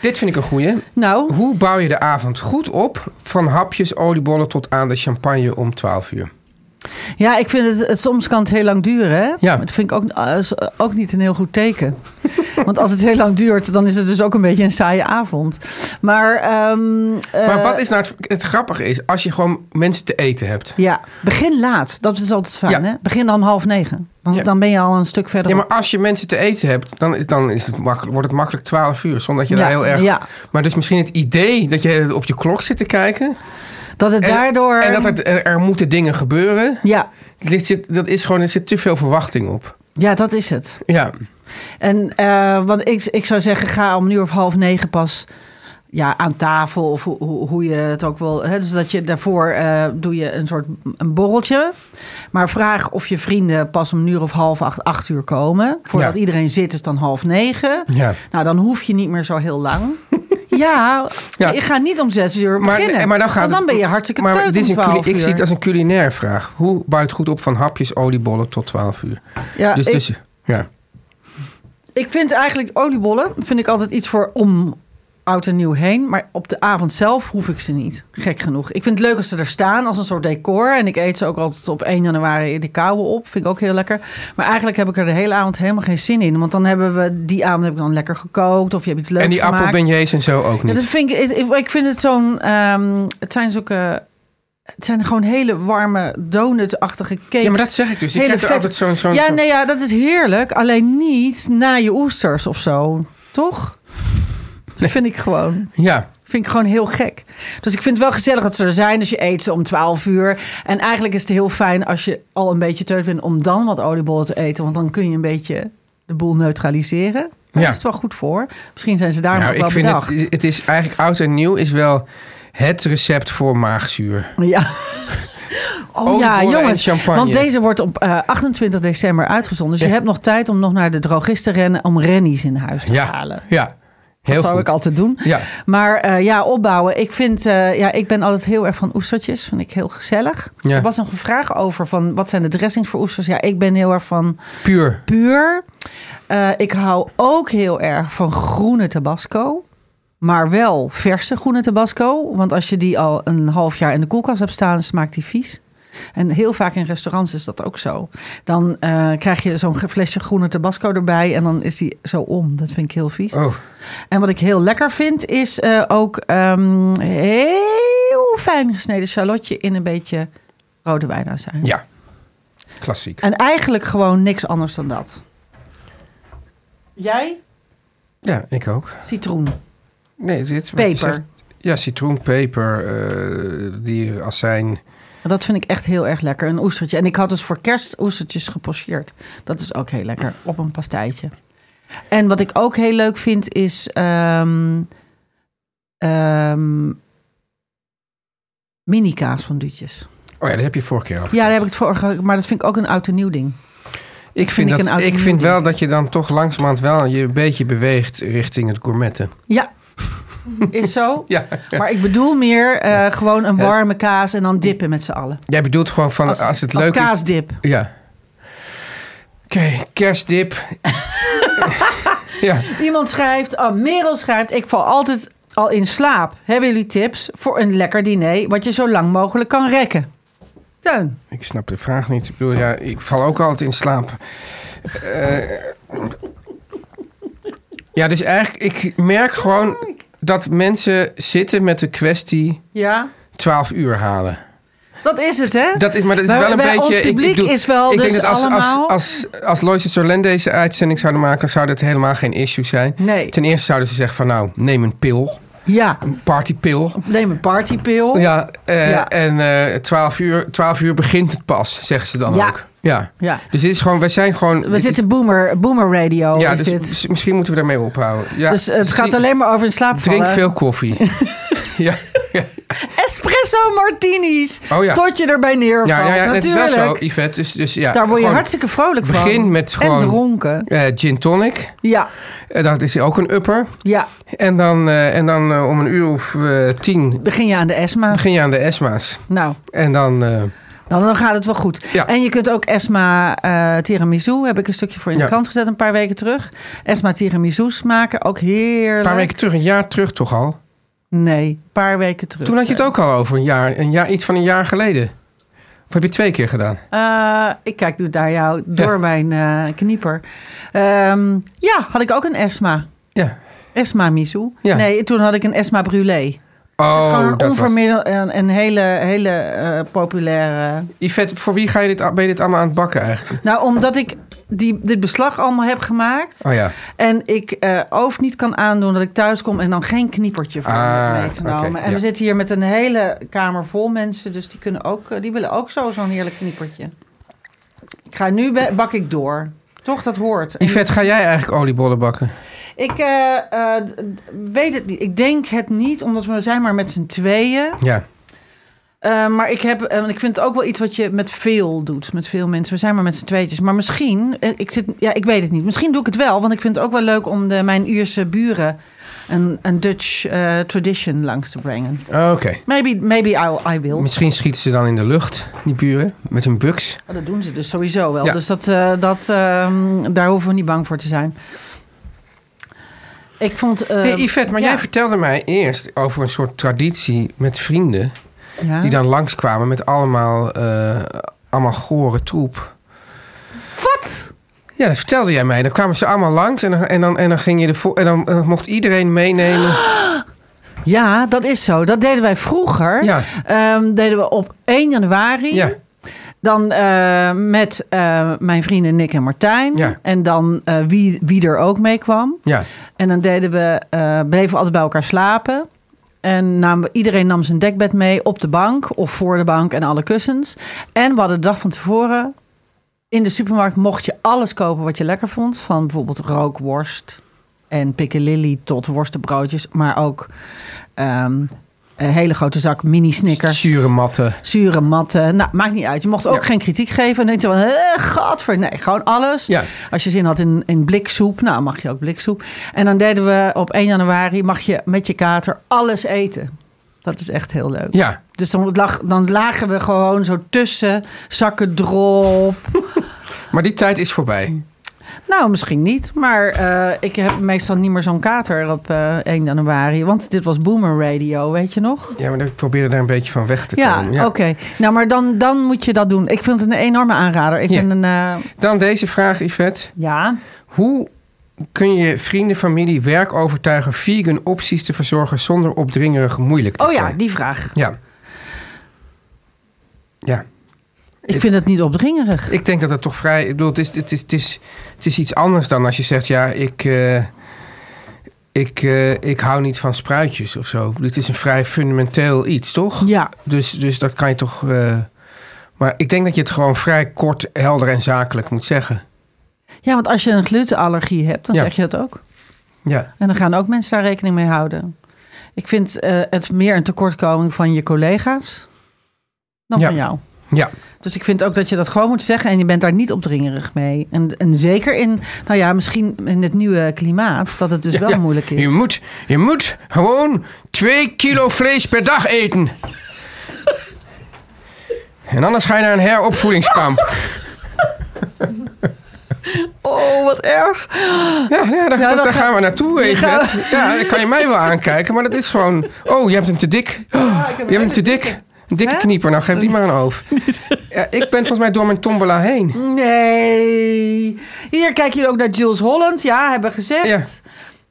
Speaker 2: Dit vind ik een goeie.
Speaker 3: Nou,
Speaker 2: Hoe bouw je de avond goed op? Van hapjes oliebollen tot aan de champagne om 12 uur.
Speaker 3: ja, ik vind het, het- soms kan het heel lang duren, hè?
Speaker 2: Ja.
Speaker 3: Dat vind ik ook, eh, is ook niet een heel goed teken. <laughs> Want als het heel lang duurt, dan is het dus ook een beetje een saaie avond. Maar, ehm, eh,
Speaker 2: Maar wat is nou het, het grappige is, als je gewoon mensen te eten hebt.
Speaker 3: Ja, begin laat. Dat is altijd fijn,
Speaker 2: Ja.
Speaker 3: hè? Begin dan om half negen. Dan,
Speaker 2: Ja.
Speaker 3: dan ben je al een stuk verder
Speaker 2: Ja,
Speaker 3: op.
Speaker 2: maar als je mensen te eten hebt, dan, is, dan is het makkelijk, wordt het makkelijk 12 uur. Zonder dat je daar
Speaker 3: Ja,
Speaker 2: heel erg.
Speaker 3: ja.
Speaker 2: Maar dus misschien het idee dat je op je klok zit te kijken.
Speaker 3: Dat het
Speaker 2: En,
Speaker 3: daardoor... ehm,
Speaker 2: En dat het, er, er moeten dingen gebeuren.
Speaker 3: Ja,
Speaker 2: Het ligt- zit- dat is gewoon, er zit te veel verwachting op.
Speaker 3: ja, dat is het.
Speaker 2: Ja,
Speaker 3: En eh, want ik, ik zou zeggen, ga om een uur of half negen pas ja, aan tafel. Of hoe, hoe, hoe je het ook wil. Hè? Dus dat je daarvoor eh, doe je een soort een borreltje. Maar vraag of je vrienden pas om een uur of half acht, acht uur komen. Voordat
Speaker 2: Ja.
Speaker 3: iedereen zit is dan half negen.
Speaker 2: Ja.
Speaker 3: Nou, dan hoef je niet meer zo heel
Speaker 2: <laughs>
Speaker 3: lang. ja,
Speaker 2: Ja.
Speaker 3: je gaat niet om zes uur
Speaker 2: maar,
Speaker 3: beginnen.
Speaker 2: maar dan gaat
Speaker 3: Want dan
Speaker 2: het-
Speaker 3: ben je hartstikke
Speaker 2: maar
Speaker 3: teut
Speaker 2: dit is
Speaker 3: om
Speaker 2: een culi-
Speaker 3: 12 uur.
Speaker 2: Ik zie het als een culinaire vraag. Hoe bouw je het goed op van hapjes, oliebollen tot 12 uur?
Speaker 3: ja,
Speaker 2: dus
Speaker 3: ik-
Speaker 2: tussen. Ja.
Speaker 3: Ik vind eigenlijk oliebollen vind ik altijd iets voor om oud en nieuw heen. Maar op de avond zelf hoef ik ze niet. Gek genoeg. Ik vind het leuk als ze er staan als een soort decor. En ik eet ze ook altijd op 1 januari in de koude op. Vind ik ook heel lekker. Maar eigenlijk heb ik er de hele avond helemaal geen zin in. Want dan hebben we die avond heb ik dan lekker gekookt. Of je hebt iets leuks
Speaker 2: En die
Speaker 3: gemaakt.
Speaker 2: appelbeignets en zo ook
Speaker 3: Ja,
Speaker 2: niet.
Speaker 3: dat vind ik, ik, ik vind het zo'n. ehm, het zijn zulke. Het zijn gewoon hele warme donutachtige cakes.
Speaker 2: Ja, maar dat zeg ik dus. Ik
Speaker 3: Hele
Speaker 2: heb er
Speaker 3: vet-
Speaker 2: altijd zo'n... zo'n
Speaker 3: ja,
Speaker 2: zo'n-
Speaker 3: nee, ja, dat is heerlijk. Alleen niet na je oesters of zo. Toch? Dat vind ik gewoon.
Speaker 2: ja.
Speaker 3: Vind ik gewoon heel gek. Dus ik vind het wel gezellig dat ze er zijn. Dus je eet ze om 12 uur. En eigenlijk is het heel fijn als je al een beetje teut bent om dan wat oliebollen te eten. Want dan kun je een beetje de boel neutraliseren. Daar
Speaker 2: Ja.
Speaker 3: is het wel goed voor. Misschien zijn ze daar
Speaker 2: Nou,
Speaker 3: nog wel
Speaker 2: ik vind
Speaker 3: bedacht.
Speaker 2: het, het is eigenlijk oud en nieuw is wel het recept voor maagzuur. <laughs>
Speaker 3: Ja. Oh ja,
Speaker 2: Oliebollen en
Speaker 3: jongens.
Speaker 2: champagne.
Speaker 3: Want deze wordt op eh, 28 december uitgezonden. Dus
Speaker 2: Ja.
Speaker 3: je hebt nog tijd om nog naar de drogist te rennen om rennies in huis te
Speaker 2: Ja,
Speaker 3: halen.
Speaker 2: ja. Heel
Speaker 3: dat zou
Speaker 2: goed.
Speaker 3: ik altijd doen.
Speaker 2: Ja.
Speaker 3: Maar eh, ja, opbouwen. Ik vind, eh, ja, ik ben altijd heel erg van oestertjes. Vind ik heel gezellig.
Speaker 2: Ja.
Speaker 3: Er was nog een vraag over van wat zijn de dressings voor oesters? Ja, ik ben heel erg van
Speaker 2: Puur.
Speaker 3: puur. Eh, ik hou ook heel erg van groene tabasco. Maar wel verse groene tabasco. Want als je die al een half jaar in de koelkast hebt staan, smaakt die vies. En heel vaak in restaurants is dat ook zo. Dan eh, krijg je zo'n ge- flesje groene tabasco erbij en dan is die zo om. Dat vind ik heel vies.
Speaker 2: Oh,
Speaker 3: En wat ik heel lekker vind, is eh, ook ehm, heel fijn gesneden shallotje in een beetje rode wijnazijn.
Speaker 2: ja. Klassiek.
Speaker 3: En eigenlijk gewoon niks anders dan dat. Jij?
Speaker 2: Ja, ik ook.
Speaker 3: Citroen.
Speaker 2: Nee, dit is wat je
Speaker 3: Peper.
Speaker 2: zegt. Ja, citroen, peper, eh, die azijn.
Speaker 3: Dat vind ik echt heel erg lekker. Een oestertje. En ik had dus voor kerst oestertjes gepocheerd. Dat is ook heel lekker. Op een pastijtje. En wat ik ook heel leuk vind is... ehm ehm mini kaas van duutjes.
Speaker 2: Oh ja, daar heb je vorige keer over.
Speaker 3: Ja, daar heb ik het vorige, maar dat vind ik ook een oud en nieuw ding.
Speaker 2: ik
Speaker 3: vind
Speaker 2: vind,
Speaker 3: ik een
Speaker 2: dat,
Speaker 3: oud
Speaker 2: ik
Speaker 3: en
Speaker 2: vind
Speaker 3: nieuw
Speaker 2: wel dat je dan toch langzamerhand wel je een beetje beweegt richting het gourmetten.
Speaker 3: Ja, is
Speaker 2: <laughs>
Speaker 3: zo.
Speaker 2: Ja.
Speaker 3: Maar ik bedoel meer eh, gewoon een warme kaas en dan dippen met z'n allen.
Speaker 2: Jij bedoelt gewoon van als, het leuk
Speaker 3: als
Speaker 2: is.
Speaker 3: kaasdip.
Speaker 2: Ja. Oké,
Speaker 3: <laughs>
Speaker 2: kerstdip. ja.
Speaker 3: Iemand schrijft, oh, Merel schrijft, ik val altijd al in slaap. Hebben jullie tips voor een lekker diner wat je zo lang mogelijk kan rekken? Teun.
Speaker 2: Ik snap de vraag niet. Ik bedoel, ja, ik val ook altijd in slaap. Eh, ja, dus eigenlijk, ik merk gewoon dat mensen zitten met de kwestie
Speaker 3: Ja.
Speaker 2: 12 uur halen.
Speaker 3: Dat is het, hè?
Speaker 2: Dat is, maar dat is
Speaker 3: Bij-
Speaker 2: wel een
Speaker 3: bij
Speaker 2: beetje...
Speaker 3: ons publiek
Speaker 2: bedoel,
Speaker 3: is wel
Speaker 2: ik
Speaker 3: dus
Speaker 2: denk dat als,
Speaker 3: allemaal-
Speaker 2: als, als, als Lois en Sorlen deze uitzending zouden maken... dan zou dat helemaal geen issue zijn.
Speaker 3: Nee.
Speaker 2: Ten eerste zouden ze zeggen van nou, neem een pil.
Speaker 3: Ja.
Speaker 2: Een partypil.
Speaker 3: Neem een partypil.
Speaker 2: Ja, eh,
Speaker 3: Ja.
Speaker 2: en eh 12, uur, 12 uur begint het pas, zeggen ze dan
Speaker 3: Ja.
Speaker 2: ook. Ja.
Speaker 3: Ja.
Speaker 2: Dus dit is gewoon, wij zijn gewoon... dit
Speaker 3: We
Speaker 2: is-
Speaker 3: zitten boomer, boomer radio
Speaker 2: ja,
Speaker 3: is
Speaker 2: dus
Speaker 3: dit.
Speaker 2: mis- misschien moeten we daarmee ophouden. Ja,
Speaker 3: Dus het gaat alleen maar over in slaap
Speaker 2: Drink
Speaker 3: vallen.
Speaker 2: veel
Speaker 3: <laughs>
Speaker 2: koffie. ja, ja.
Speaker 3: Espresso martinis.
Speaker 2: Oh ja.
Speaker 3: Tot je erbij neervalt.
Speaker 2: ja, ja, ja, het is
Speaker 3: Natuurlijk.
Speaker 2: wel zo, Yvette. Dus, dus, ja,
Speaker 3: Daar word je
Speaker 2: gewoon,
Speaker 3: hartstikke vrolijk van.
Speaker 2: Begin met gewoon-
Speaker 3: En dronken.
Speaker 2: eh, gin tonic.
Speaker 3: Ja,
Speaker 2: Eh, dat is ook een upper.
Speaker 3: ja.
Speaker 2: En dan, eh, en dan eh, om een uur of eh, tien
Speaker 3: Begin je aan de ESMA.
Speaker 2: begin je aan de ESMA's.
Speaker 3: Nou,
Speaker 2: En dan... eh,
Speaker 3: dan, dan gaat het wel goed.
Speaker 2: Ja.
Speaker 3: En je kunt ook ESMA eh, tiramisu. Heb ik een stukje voor in
Speaker 2: Ja.
Speaker 3: de krant gezet een paar weken terug. ESMA tiramisu's maken. Ook heerlijk.
Speaker 2: een paar weken terug, een jaar terug toch al.
Speaker 3: Nee, een paar weken terug.
Speaker 2: Toen had je het ook al over een jaar, een jaar iets van een jaar geleden. Of heb je het twee keer gedaan?
Speaker 3: Eh, ik kijk nu naar jou door
Speaker 2: Ja.
Speaker 3: mijn eh, knieper. Ehm, ja, had ik ook een ESMA.
Speaker 2: Ja.
Speaker 3: ESMA misu.
Speaker 2: Ja.
Speaker 3: Nee, toen had ik een ESMA brûlée.
Speaker 2: Oh,
Speaker 3: het is gewoon een,
Speaker 2: dat was-
Speaker 3: onvermiddel, een, een hele, hele eh, populaire.
Speaker 2: Yvette, voor wie ga je dit, ben je dit allemaal aan het bakken eigenlijk?
Speaker 3: Nou, omdat ik die, dit beslag allemaal heb gemaakt.
Speaker 2: Oh ja.
Speaker 3: En ik eh oof niet kan aandoen dat ik thuis kom en dan geen kniepertje voor me heb
Speaker 2: Ah,
Speaker 3: meegenomen.
Speaker 2: oké,
Speaker 3: en
Speaker 2: ja.
Speaker 3: we zitten hier met een hele kamer vol mensen. Dus die, kunnen ook, eh, die willen ook zo zo'n heerlijk kniepertje. Ik ga nu be- bak ik door. Toch, dat hoort. En
Speaker 2: Yvette, ga jij eigenlijk oliebollen bakken?
Speaker 3: ik eh, eh, d- weet het niet. Ik denk het niet, omdat we zijn maar met z'n tweeën.
Speaker 2: Ja.
Speaker 3: Eh, maar ik, heb, eh, want ik vind het ook wel iets wat je met veel doet. Met veel mensen. We zijn maar met z'n tweetjes. Maar misschien, eh, ik, zit, ja, ik weet het niet. Misschien doe ik het wel. Want ik vind het ook wel leuk om de, mijn Ierse buren een, een Dutch eh, tradition langs te brengen.
Speaker 2: Oh, Oké.
Speaker 3: Maybe, maybe I'll, I will.
Speaker 2: Misschien schieten ze dan in de lucht, die buren, met hun buks.
Speaker 3: Maar Dat doen ze dus sowieso wel.
Speaker 2: Ja.
Speaker 3: Dus dat, eh, dat, ehm, daar hoeven we niet bang voor te zijn. Ik vond... eh,
Speaker 2: Hey Yvette, maar
Speaker 3: ja.
Speaker 2: jij vertelde mij eerst over een soort traditie met vrienden.
Speaker 3: Ja.
Speaker 2: Die dan langskwamen met allemaal, eh, allemaal gore troep.
Speaker 3: Wat?
Speaker 2: Ja, dat vertelde jij mij. Dan kwamen ze allemaal langs en dan, en dan, en dan, ging je de vo- en dan eh, mocht iedereen meenemen.
Speaker 3: Ja, dat is zo. Dat deden wij vroeger.
Speaker 2: Ja.
Speaker 3: Ehm, deden we op 1 januari.
Speaker 2: Ja.
Speaker 3: Dan eh, met eh, mijn vrienden Nick en Martijn.
Speaker 2: Ja.
Speaker 3: En dan eh, wie, wie er ook mee kwam.
Speaker 2: Ja.
Speaker 3: En dan deden we, eh, bleven we altijd bij elkaar slapen. En nam, iedereen nam zijn dekbed mee op de bank of voor de bank en alle kussens. En we hadden de dag van tevoren in de supermarkt mocht je alles kopen wat je lekker vond. Van bijvoorbeeld rookworst en piccalilli tot worstenbroodjes. Maar ook ehm, een hele grote zak mini snickers.
Speaker 2: Zure matten.
Speaker 3: Zure matten. Nou, maakt niet uit. Je mocht ook
Speaker 2: Ja.
Speaker 3: geen kritiek geven. En dan denk je van, eh, gadver. Nee, gewoon alles.
Speaker 2: Ja.
Speaker 3: Als je zin had in, in bliksoep, nou mag je ook bliksoep. En dan deden we op 1 januari, mag je met je kater alles eten. Dat is echt heel leuk.
Speaker 2: Ja.
Speaker 3: Dus dan, lag, dan lagen we gewoon zo tussen, zakken drop.
Speaker 2: Maar die tijd is voorbij.
Speaker 3: nou, misschien niet. Maar eh, ik heb meestal niet meer zo'n kater op eh 1 januari. Want dit was Boomer Radio, weet je nog?
Speaker 2: Ja, maar ik probeerde daar een beetje van weg te
Speaker 3: Ja,
Speaker 2: komen.
Speaker 3: oké. Nou, maar dan, dan moet je dat doen. Ik vind het een enorme aanrader. Ik
Speaker 2: Ja.
Speaker 3: ben een... eh,
Speaker 2: Dan deze vraag, Yvette.
Speaker 3: ja.
Speaker 2: Hoe kun je vrienden, familie, werk overtuigen vegan opties te verzorgen zonder opdringerig moeilijk te
Speaker 3: Oh
Speaker 2: zijn?
Speaker 3: ja, die vraag.
Speaker 2: Ja. Ja.
Speaker 3: Ik vind het niet opdringerig.
Speaker 2: Ik denk dat het toch vrij. Ik bedoel, het is, het is, het is, het is iets anders dan als je zegt: ja, ik. eh, ik, eh, ik hou niet van spruitjes of zo. Dit is een vrij fundamenteel iets, toch?
Speaker 3: Ja.
Speaker 2: Dus, dus dat kan je toch. eh, maar ik denk dat je het gewoon vrij kort, helder en zakelijk moet zeggen.
Speaker 3: ja, want als je een glutenallergie hebt, dan
Speaker 2: Ja.
Speaker 3: zeg je dat ook.
Speaker 2: Ja.
Speaker 3: En dan gaan ook mensen daar rekening mee houden. Ik vind eh, het meer een tekortkoming van je collega's dan
Speaker 2: Ja.
Speaker 3: van jou.
Speaker 2: Ja.
Speaker 3: Dus ik vind ook dat je dat gewoon moet zeggen en je bent daar niet opdringerig mee. En, en zeker in, nou ja, misschien in het nieuwe klimaat, dat het dus wel
Speaker 2: Ja.
Speaker 3: moeilijk is.
Speaker 2: Je moet, je moet gewoon twee kilo vlees per dag eten. en anders ga je naar een
Speaker 3: <laughs>
Speaker 2: heropvoedingskamp.
Speaker 3: Oh, wat erg.
Speaker 2: Ja, ja, daar, daar-
Speaker 3: Ja, dat
Speaker 2: daar
Speaker 3: ga-
Speaker 2: gaan we naartoe, even. Ja, dan kan je mij wel aankijken, maar dat is gewoon... Oh, je hebt een te dik.
Speaker 3: ik heb
Speaker 2: je
Speaker 3: een
Speaker 2: hebt een
Speaker 3: hele
Speaker 2: te dik. Een dikke
Speaker 3: Hè?
Speaker 2: knieper, nou geef die maar een
Speaker 3: <laughs>
Speaker 2: oof. Ja, ik ben volgens mij door mijn tombola heen.
Speaker 3: Nee. Hier kijk je ook naar Jules Holland. Ja, hebben we gezegd.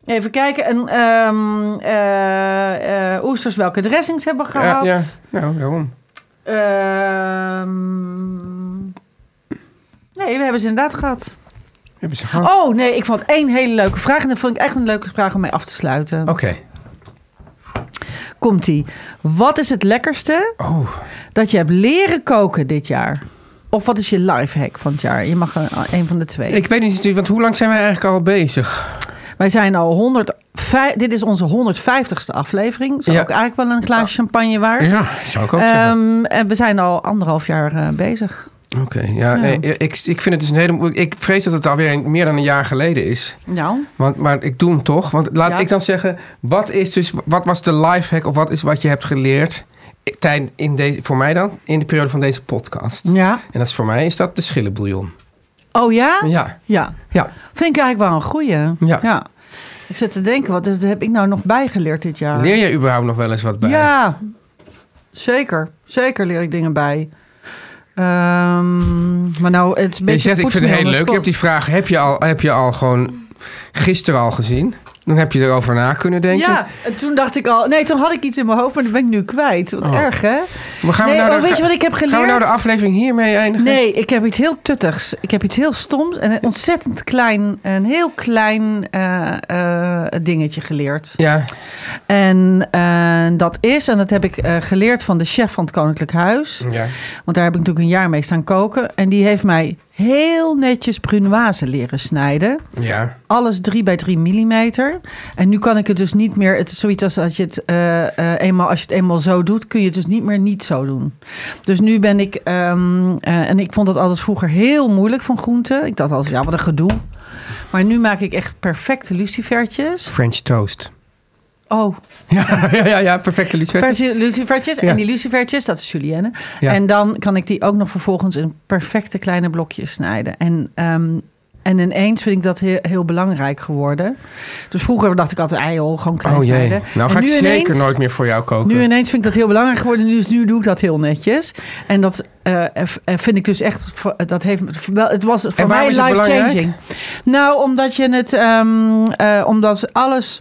Speaker 3: Even kijken. En ehm, eh, eh, oesters welke dressings hebben we
Speaker 2: Ja,
Speaker 3: gehad.
Speaker 2: ja, nou, daarom.
Speaker 3: Ehm, nee, we hebben ze inderdaad gehad.
Speaker 2: Hebben ze gehad.
Speaker 3: Oh nee, ik vond één hele leuke vraag. En dat vond ik echt een leuke vraag om mee af te sluiten.
Speaker 2: Oké.
Speaker 3: Komt-ie. Wat is het lekkerste
Speaker 2: Oh,
Speaker 3: dat je hebt leren koken dit jaar? Of wat is je lifehack van het jaar? Je mag een, een van de twee.
Speaker 2: ik weet niet, natuurlijk, want hoe lang zijn wij eigenlijk al bezig?
Speaker 3: Wij zijn al 105, dit is onze 150ste aflevering. Zou
Speaker 2: Ja.
Speaker 3: ook eigenlijk wel een glaasje champagne waard.
Speaker 2: Ja, zou ik ook zeggen.
Speaker 3: Ehm, en we zijn al anderhalf jaar eh, bezig.
Speaker 2: Oké, ja,
Speaker 3: ja.
Speaker 2: nee, ik, ik vind het dus een hele... moe- Ik vrees dat het alweer een- meer dan een jaar geleden is.
Speaker 3: Nou,
Speaker 2: Want, maar ik doe hem toch. Want laat
Speaker 3: Ja.
Speaker 2: ik dan zeggen, wat, is dus, wat was de lifehack of wat is wat je hebt geleerd tijn, in deze voor mij dan, in de periode van deze podcast?
Speaker 3: ja.
Speaker 2: En dat is voor mij is dat de schillenbouillon.
Speaker 3: Oh ja?
Speaker 2: Ja,
Speaker 3: Ja.
Speaker 2: ja.
Speaker 3: Vind ik eigenlijk wel een goeie.
Speaker 2: Ja.
Speaker 3: Ik zit te denken, wat heb ik nou nog bijgeleerd dit jaar?
Speaker 2: Leer jij überhaupt nog wel eens wat bij?
Speaker 3: Ja, zeker. Zeker leer ik dingen bij. Ehm, maar nou, het is een
Speaker 2: Je
Speaker 3: beetje
Speaker 2: zegt, ik
Speaker 3: puts
Speaker 2: vind
Speaker 3: me
Speaker 2: het
Speaker 3: on
Speaker 2: heel leuk. Je
Speaker 3: the spot.
Speaker 2: hebt die vraag, heb je al, heb je al gewoon gisteren al gezien? Dan heb je erover na kunnen denken.
Speaker 3: Ja, en toen dacht ik al... Nee, toen had ik iets in mijn hoofd, maar dat ben ik nu kwijt. Wat
Speaker 2: Oh.
Speaker 3: erg, hè?
Speaker 2: Maar gaan we
Speaker 3: nee,
Speaker 2: nou
Speaker 3: oh,
Speaker 2: de,
Speaker 3: weet je wat ik heb geleerd?
Speaker 2: Gaan we nou de aflevering hiermee eindigen?
Speaker 3: Nee, ik heb iets heel tuttigs. Ik heb iets heel stoms en een ontzettend klein, een heel klein eh, eh, dingetje geleerd.
Speaker 2: Ja,
Speaker 3: En eh, dat is, en dat heb ik eh, geleerd van de chef van het Koninklijk Huis.
Speaker 2: ja.
Speaker 3: Want daar heb ik natuurlijk een jaar mee staan koken. En die heeft mij heel netjes brunoise leren snijden.
Speaker 2: ja.
Speaker 3: Alles 3 bij 3 millimeter. En nu kan ik het dus niet meer. Het is zoiets als dat je het, eh, eh, eenmaal, als je het eenmaal zo doet, kun je het dus niet meer niet zo doen. Dus nu ben ik. ehm, eh, en ik vond dat altijd vroeger heel moeilijk van groenten. Ik dacht altijd, ja, wat een gedoe. Maar nu maak ik echt perfecte lucifertjes.
Speaker 2: French toast.
Speaker 3: Oh,
Speaker 2: <laughs> Ja, ja, ja, ja perfecte Lisbeth.
Speaker 3: Persie- lucifertjes.
Speaker 2: Ja.
Speaker 3: En die lucifertjes, dat is julienne.
Speaker 2: Ja.
Speaker 3: En dan kan ik die ook nog vervolgens in perfecte kleine blokjes snijden. En ehm, En ineens vind ik dat heel, heel belangrijk geworden. Dus vroeger dacht ik altijd, "Ei, joh, gewoon klein
Speaker 2: Oh jee.
Speaker 3: snijden.
Speaker 2: Nou ga
Speaker 3: En
Speaker 2: ik
Speaker 3: nu
Speaker 2: zeker
Speaker 3: ineens-
Speaker 2: nooit meer voor jou koken.
Speaker 3: Nu ineens vind ik dat heel belangrijk geworden, dus nu doe ik dat heel netjes. En dat eh, eh, vind ik dus echt, voor- dat heeft me- wel, het was voor
Speaker 2: waarom
Speaker 3: mij
Speaker 2: is het
Speaker 3: life
Speaker 2: belangrijk?
Speaker 3: changing. Nou, omdat je het, ehm, eh, omdat alles,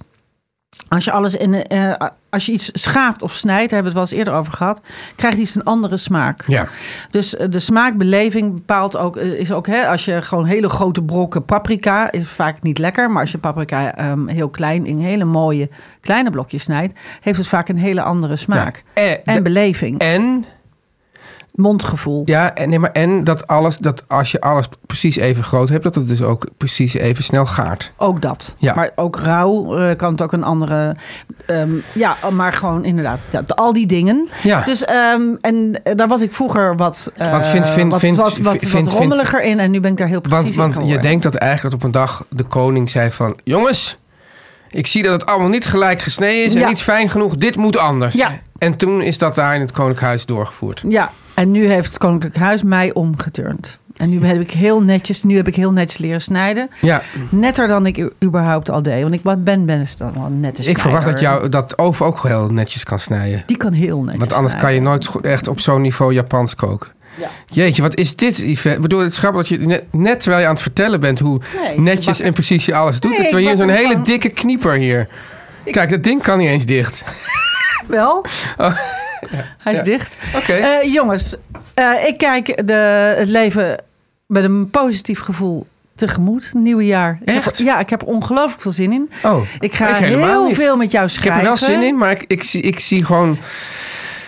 Speaker 3: als je alles in, eh, eh, als je iets schaapt of snijdt, daar hebben we het wel eens eerder over gehad, krijgt iets een andere smaak.
Speaker 2: Ja.
Speaker 3: Dus eh, de smaakbeleving bepaalt ook, eh, is ook hè, als je gewoon hele grote brokken paprika, is vaak niet lekker, maar als je paprika ehm, heel klein in hele mooie kleine blokjes snijdt, heeft het vaak een hele andere smaak.
Speaker 2: Ja. Eh,
Speaker 3: en
Speaker 2: de-
Speaker 3: beleving,
Speaker 2: En,
Speaker 3: mondgevoel.
Speaker 2: ja, en, nee, maar en dat, alles, dat als je alles precies even groot hebt, dat het dus ook precies even snel gaart.
Speaker 3: Ook dat.
Speaker 2: Ja.
Speaker 3: Maar ook rauw eh, kan het ook een andere. ehm, ja, maar gewoon inderdaad. Ja, al die dingen.
Speaker 2: Ja.
Speaker 3: Dus ehm, en eh, daar was ik vroeger wat. eh,
Speaker 2: Want vind- vind-
Speaker 3: wat,
Speaker 2: vind-
Speaker 3: wat, wat,
Speaker 2: vind-
Speaker 3: wat
Speaker 2: vind-
Speaker 3: rommeliger in. En nu ben ik daar heel precies
Speaker 2: Want,
Speaker 3: in
Speaker 2: want je
Speaker 3: geworden.
Speaker 2: denkt dat eigenlijk dat op een dag de koning zei van... Jongens, ik zie dat het allemaal niet gelijk gesneden is
Speaker 3: Ja.
Speaker 2: en niet fijn genoeg. Dit moet anders.
Speaker 3: Ja.
Speaker 2: En toen is dat daar in het koninklijk huis doorgevoerd.
Speaker 3: Ja, en nu heeft het Koninklijk Huis mij omgeturnd. En nu heb ik heel netjes, nu heb ik heel netjes leren snijden.
Speaker 2: Ja,
Speaker 3: Netter dan ik u- überhaupt al deed. Want ik ben, ben best dan wel een nette
Speaker 2: ik
Speaker 3: snijder.
Speaker 2: verwacht dat, jou, dat Oof ook heel netjes kan snijden.
Speaker 3: Die kan heel netjes
Speaker 2: Want anders kan je nooit go- echt op zo'n niveau Japans koken.
Speaker 3: Ja.
Speaker 2: Jeetje, wat is dit, Yvette? Ik bedoel, het is grappig dat je net, net terwijl je aan het vertellen bent... hoe
Speaker 3: Nee, ik
Speaker 2: netjes
Speaker 3: bak-
Speaker 2: en precies je alles doet...
Speaker 3: Nee,
Speaker 2: terwijl
Speaker 3: ik
Speaker 2: je
Speaker 3: bak
Speaker 2: zo'n
Speaker 3: hem
Speaker 2: hele
Speaker 3: gewoon.
Speaker 2: dikke knieper hier... Kijk, dat ding kan niet eens dicht.
Speaker 3: Wel. <laughs> Hij is dicht.
Speaker 2: Oh. Oké.
Speaker 3: Eh, jongens, eh, ik kijk de, het leven met een positief gevoel tegemoet. Nieuwe jaar. Ik heb-
Speaker 2: Echt?
Speaker 3: ja, ik heb er ongelooflijk veel zin in.
Speaker 2: Oh,
Speaker 3: Ik ga
Speaker 2: ik helemaal
Speaker 3: heel
Speaker 2: niet.
Speaker 3: veel met jou
Speaker 2: Ik heb
Speaker 3: schrijven.
Speaker 2: er wel zin in, maar ik, ik, zie, ik zie gewoon...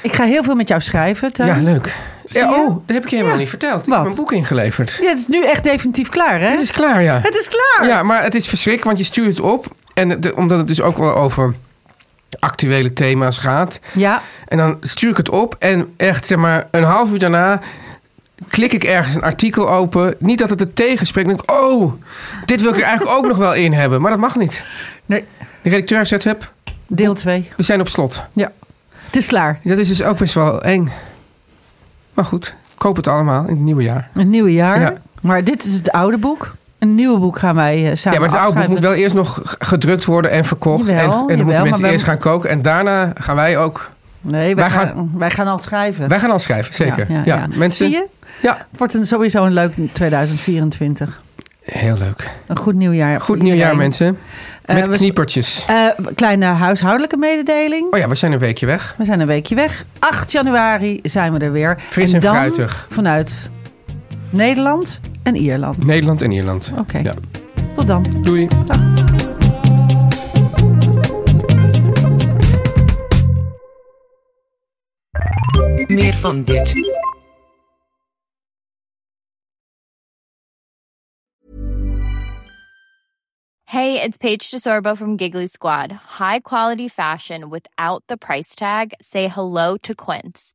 Speaker 3: Ik ga heel veel met jou schrijven, Teun.
Speaker 2: Ja, leuk. Ja,
Speaker 3: je?
Speaker 2: oh, dat heb ik je helemaal
Speaker 3: Ja.
Speaker 2: niet verteld. Ik
Speaker 3: Wat?
Speaker 2: heb mijn boek ingeleverd.
Speaker 3: Ja, het is nu echt definitief klaar, hè?
Speaker 2: Het is klaar, ja.
Speaker 3: Het is klaar!
Speaker 2: Ja, maar het is verschrikkelijk, want je stuurt het op. En de- omdat het dus ook wel over actuele thema's gaat.
Speaker 3: Ja,
Speaker 2: En dan stuur ik het op en echt, zeg maar, een half uur daarna... Klik ik ergens een artikel open. Niet dat het het tegenspreekt. Dan denk ik, oh, dit wil ik er eigenlijk ook nog wel in hebben. Maar dat mag niet.
Speaker 3: nee,
Speaker 2: De redacteur heeft gezegd, hup,
Speaker 3: deel 2.
Speaker 2: we zijn op slot.
Speaker 3: Ja. Het is klaar.
Speaker 2: Dat is dus ook best wel eng. Maar goed, koop het allemaal in het nieuwe jaar.
Speaker 3: Een nieuw jaar.
Speaker 2: Ja.
Speaker 3: Maar dit is het oude boek. Een nieuwe boek gaan wij eh,
Speaker 2: Ja,
Speaker 3: samen
Speaker 2: maar het oude boek
Speaker 3: afschrijven.
Speaker 2: moet wel eerst nog g- gedrukt worden en verkocht.
Speaker 3: Jawel,
Speaker 2: en en dan
Speaker 3: jawel,
Speaker 2: moeten
Speaker 3: maar
Speaker 2: mensen
Speaker 3: wij-
Speaker 2: eerst gaan koken. En daarna gaan wij ook...
Speaker 3: Nee, wij,
Speaker 2: Wij
Speaker 3: gaan,
Speaker 2: gaan-
Speaker 3: wij gaan al schrijven.
Speaker 2: Wij gaan al schrijven, zeker. Ja, Mensen,
Speaker 3: Zie je?
Speaker 2: Ja,
Speaker 3: Het wordt een, sowieso een leuk 2024.
Speaker 2: heel leuk.
Speaker 3: Een goed nieuwjaar. voor
Speaker 2: Goed nieuwjaar,
Speaker 3: iedereen.
Speaker 2: mensen.
Speaker 3: Eh,
Speaker 2: Met
Speaker 3: we-
Speaker 2: kniepertjes.
Speaker 3: Eh, kleine huishoudelijke mededeling.
Speaker 2: Oh ja, we zijn een weekje weg.
Speaker 3: We zijn een weekje weg. 8 januari zijn we er weer.
Speaker 2: Fris en
Speaker 3: dan
Speaker 2: fruitig.
Speaker 3: vanuit Nederland en Ierland.
Speaker 2: Nederland en Ierland.
Speaker 3: Oké,
Speaker 2: Ja.
Speaker 3: tot dan.
Speaker 2: Doei.
Speaker 4: Meer van dit.
Speaker 5: Hey, it's Paige DeSorbo from Giggly Squad. High quality fashion without the price tag. Say hello to Quince.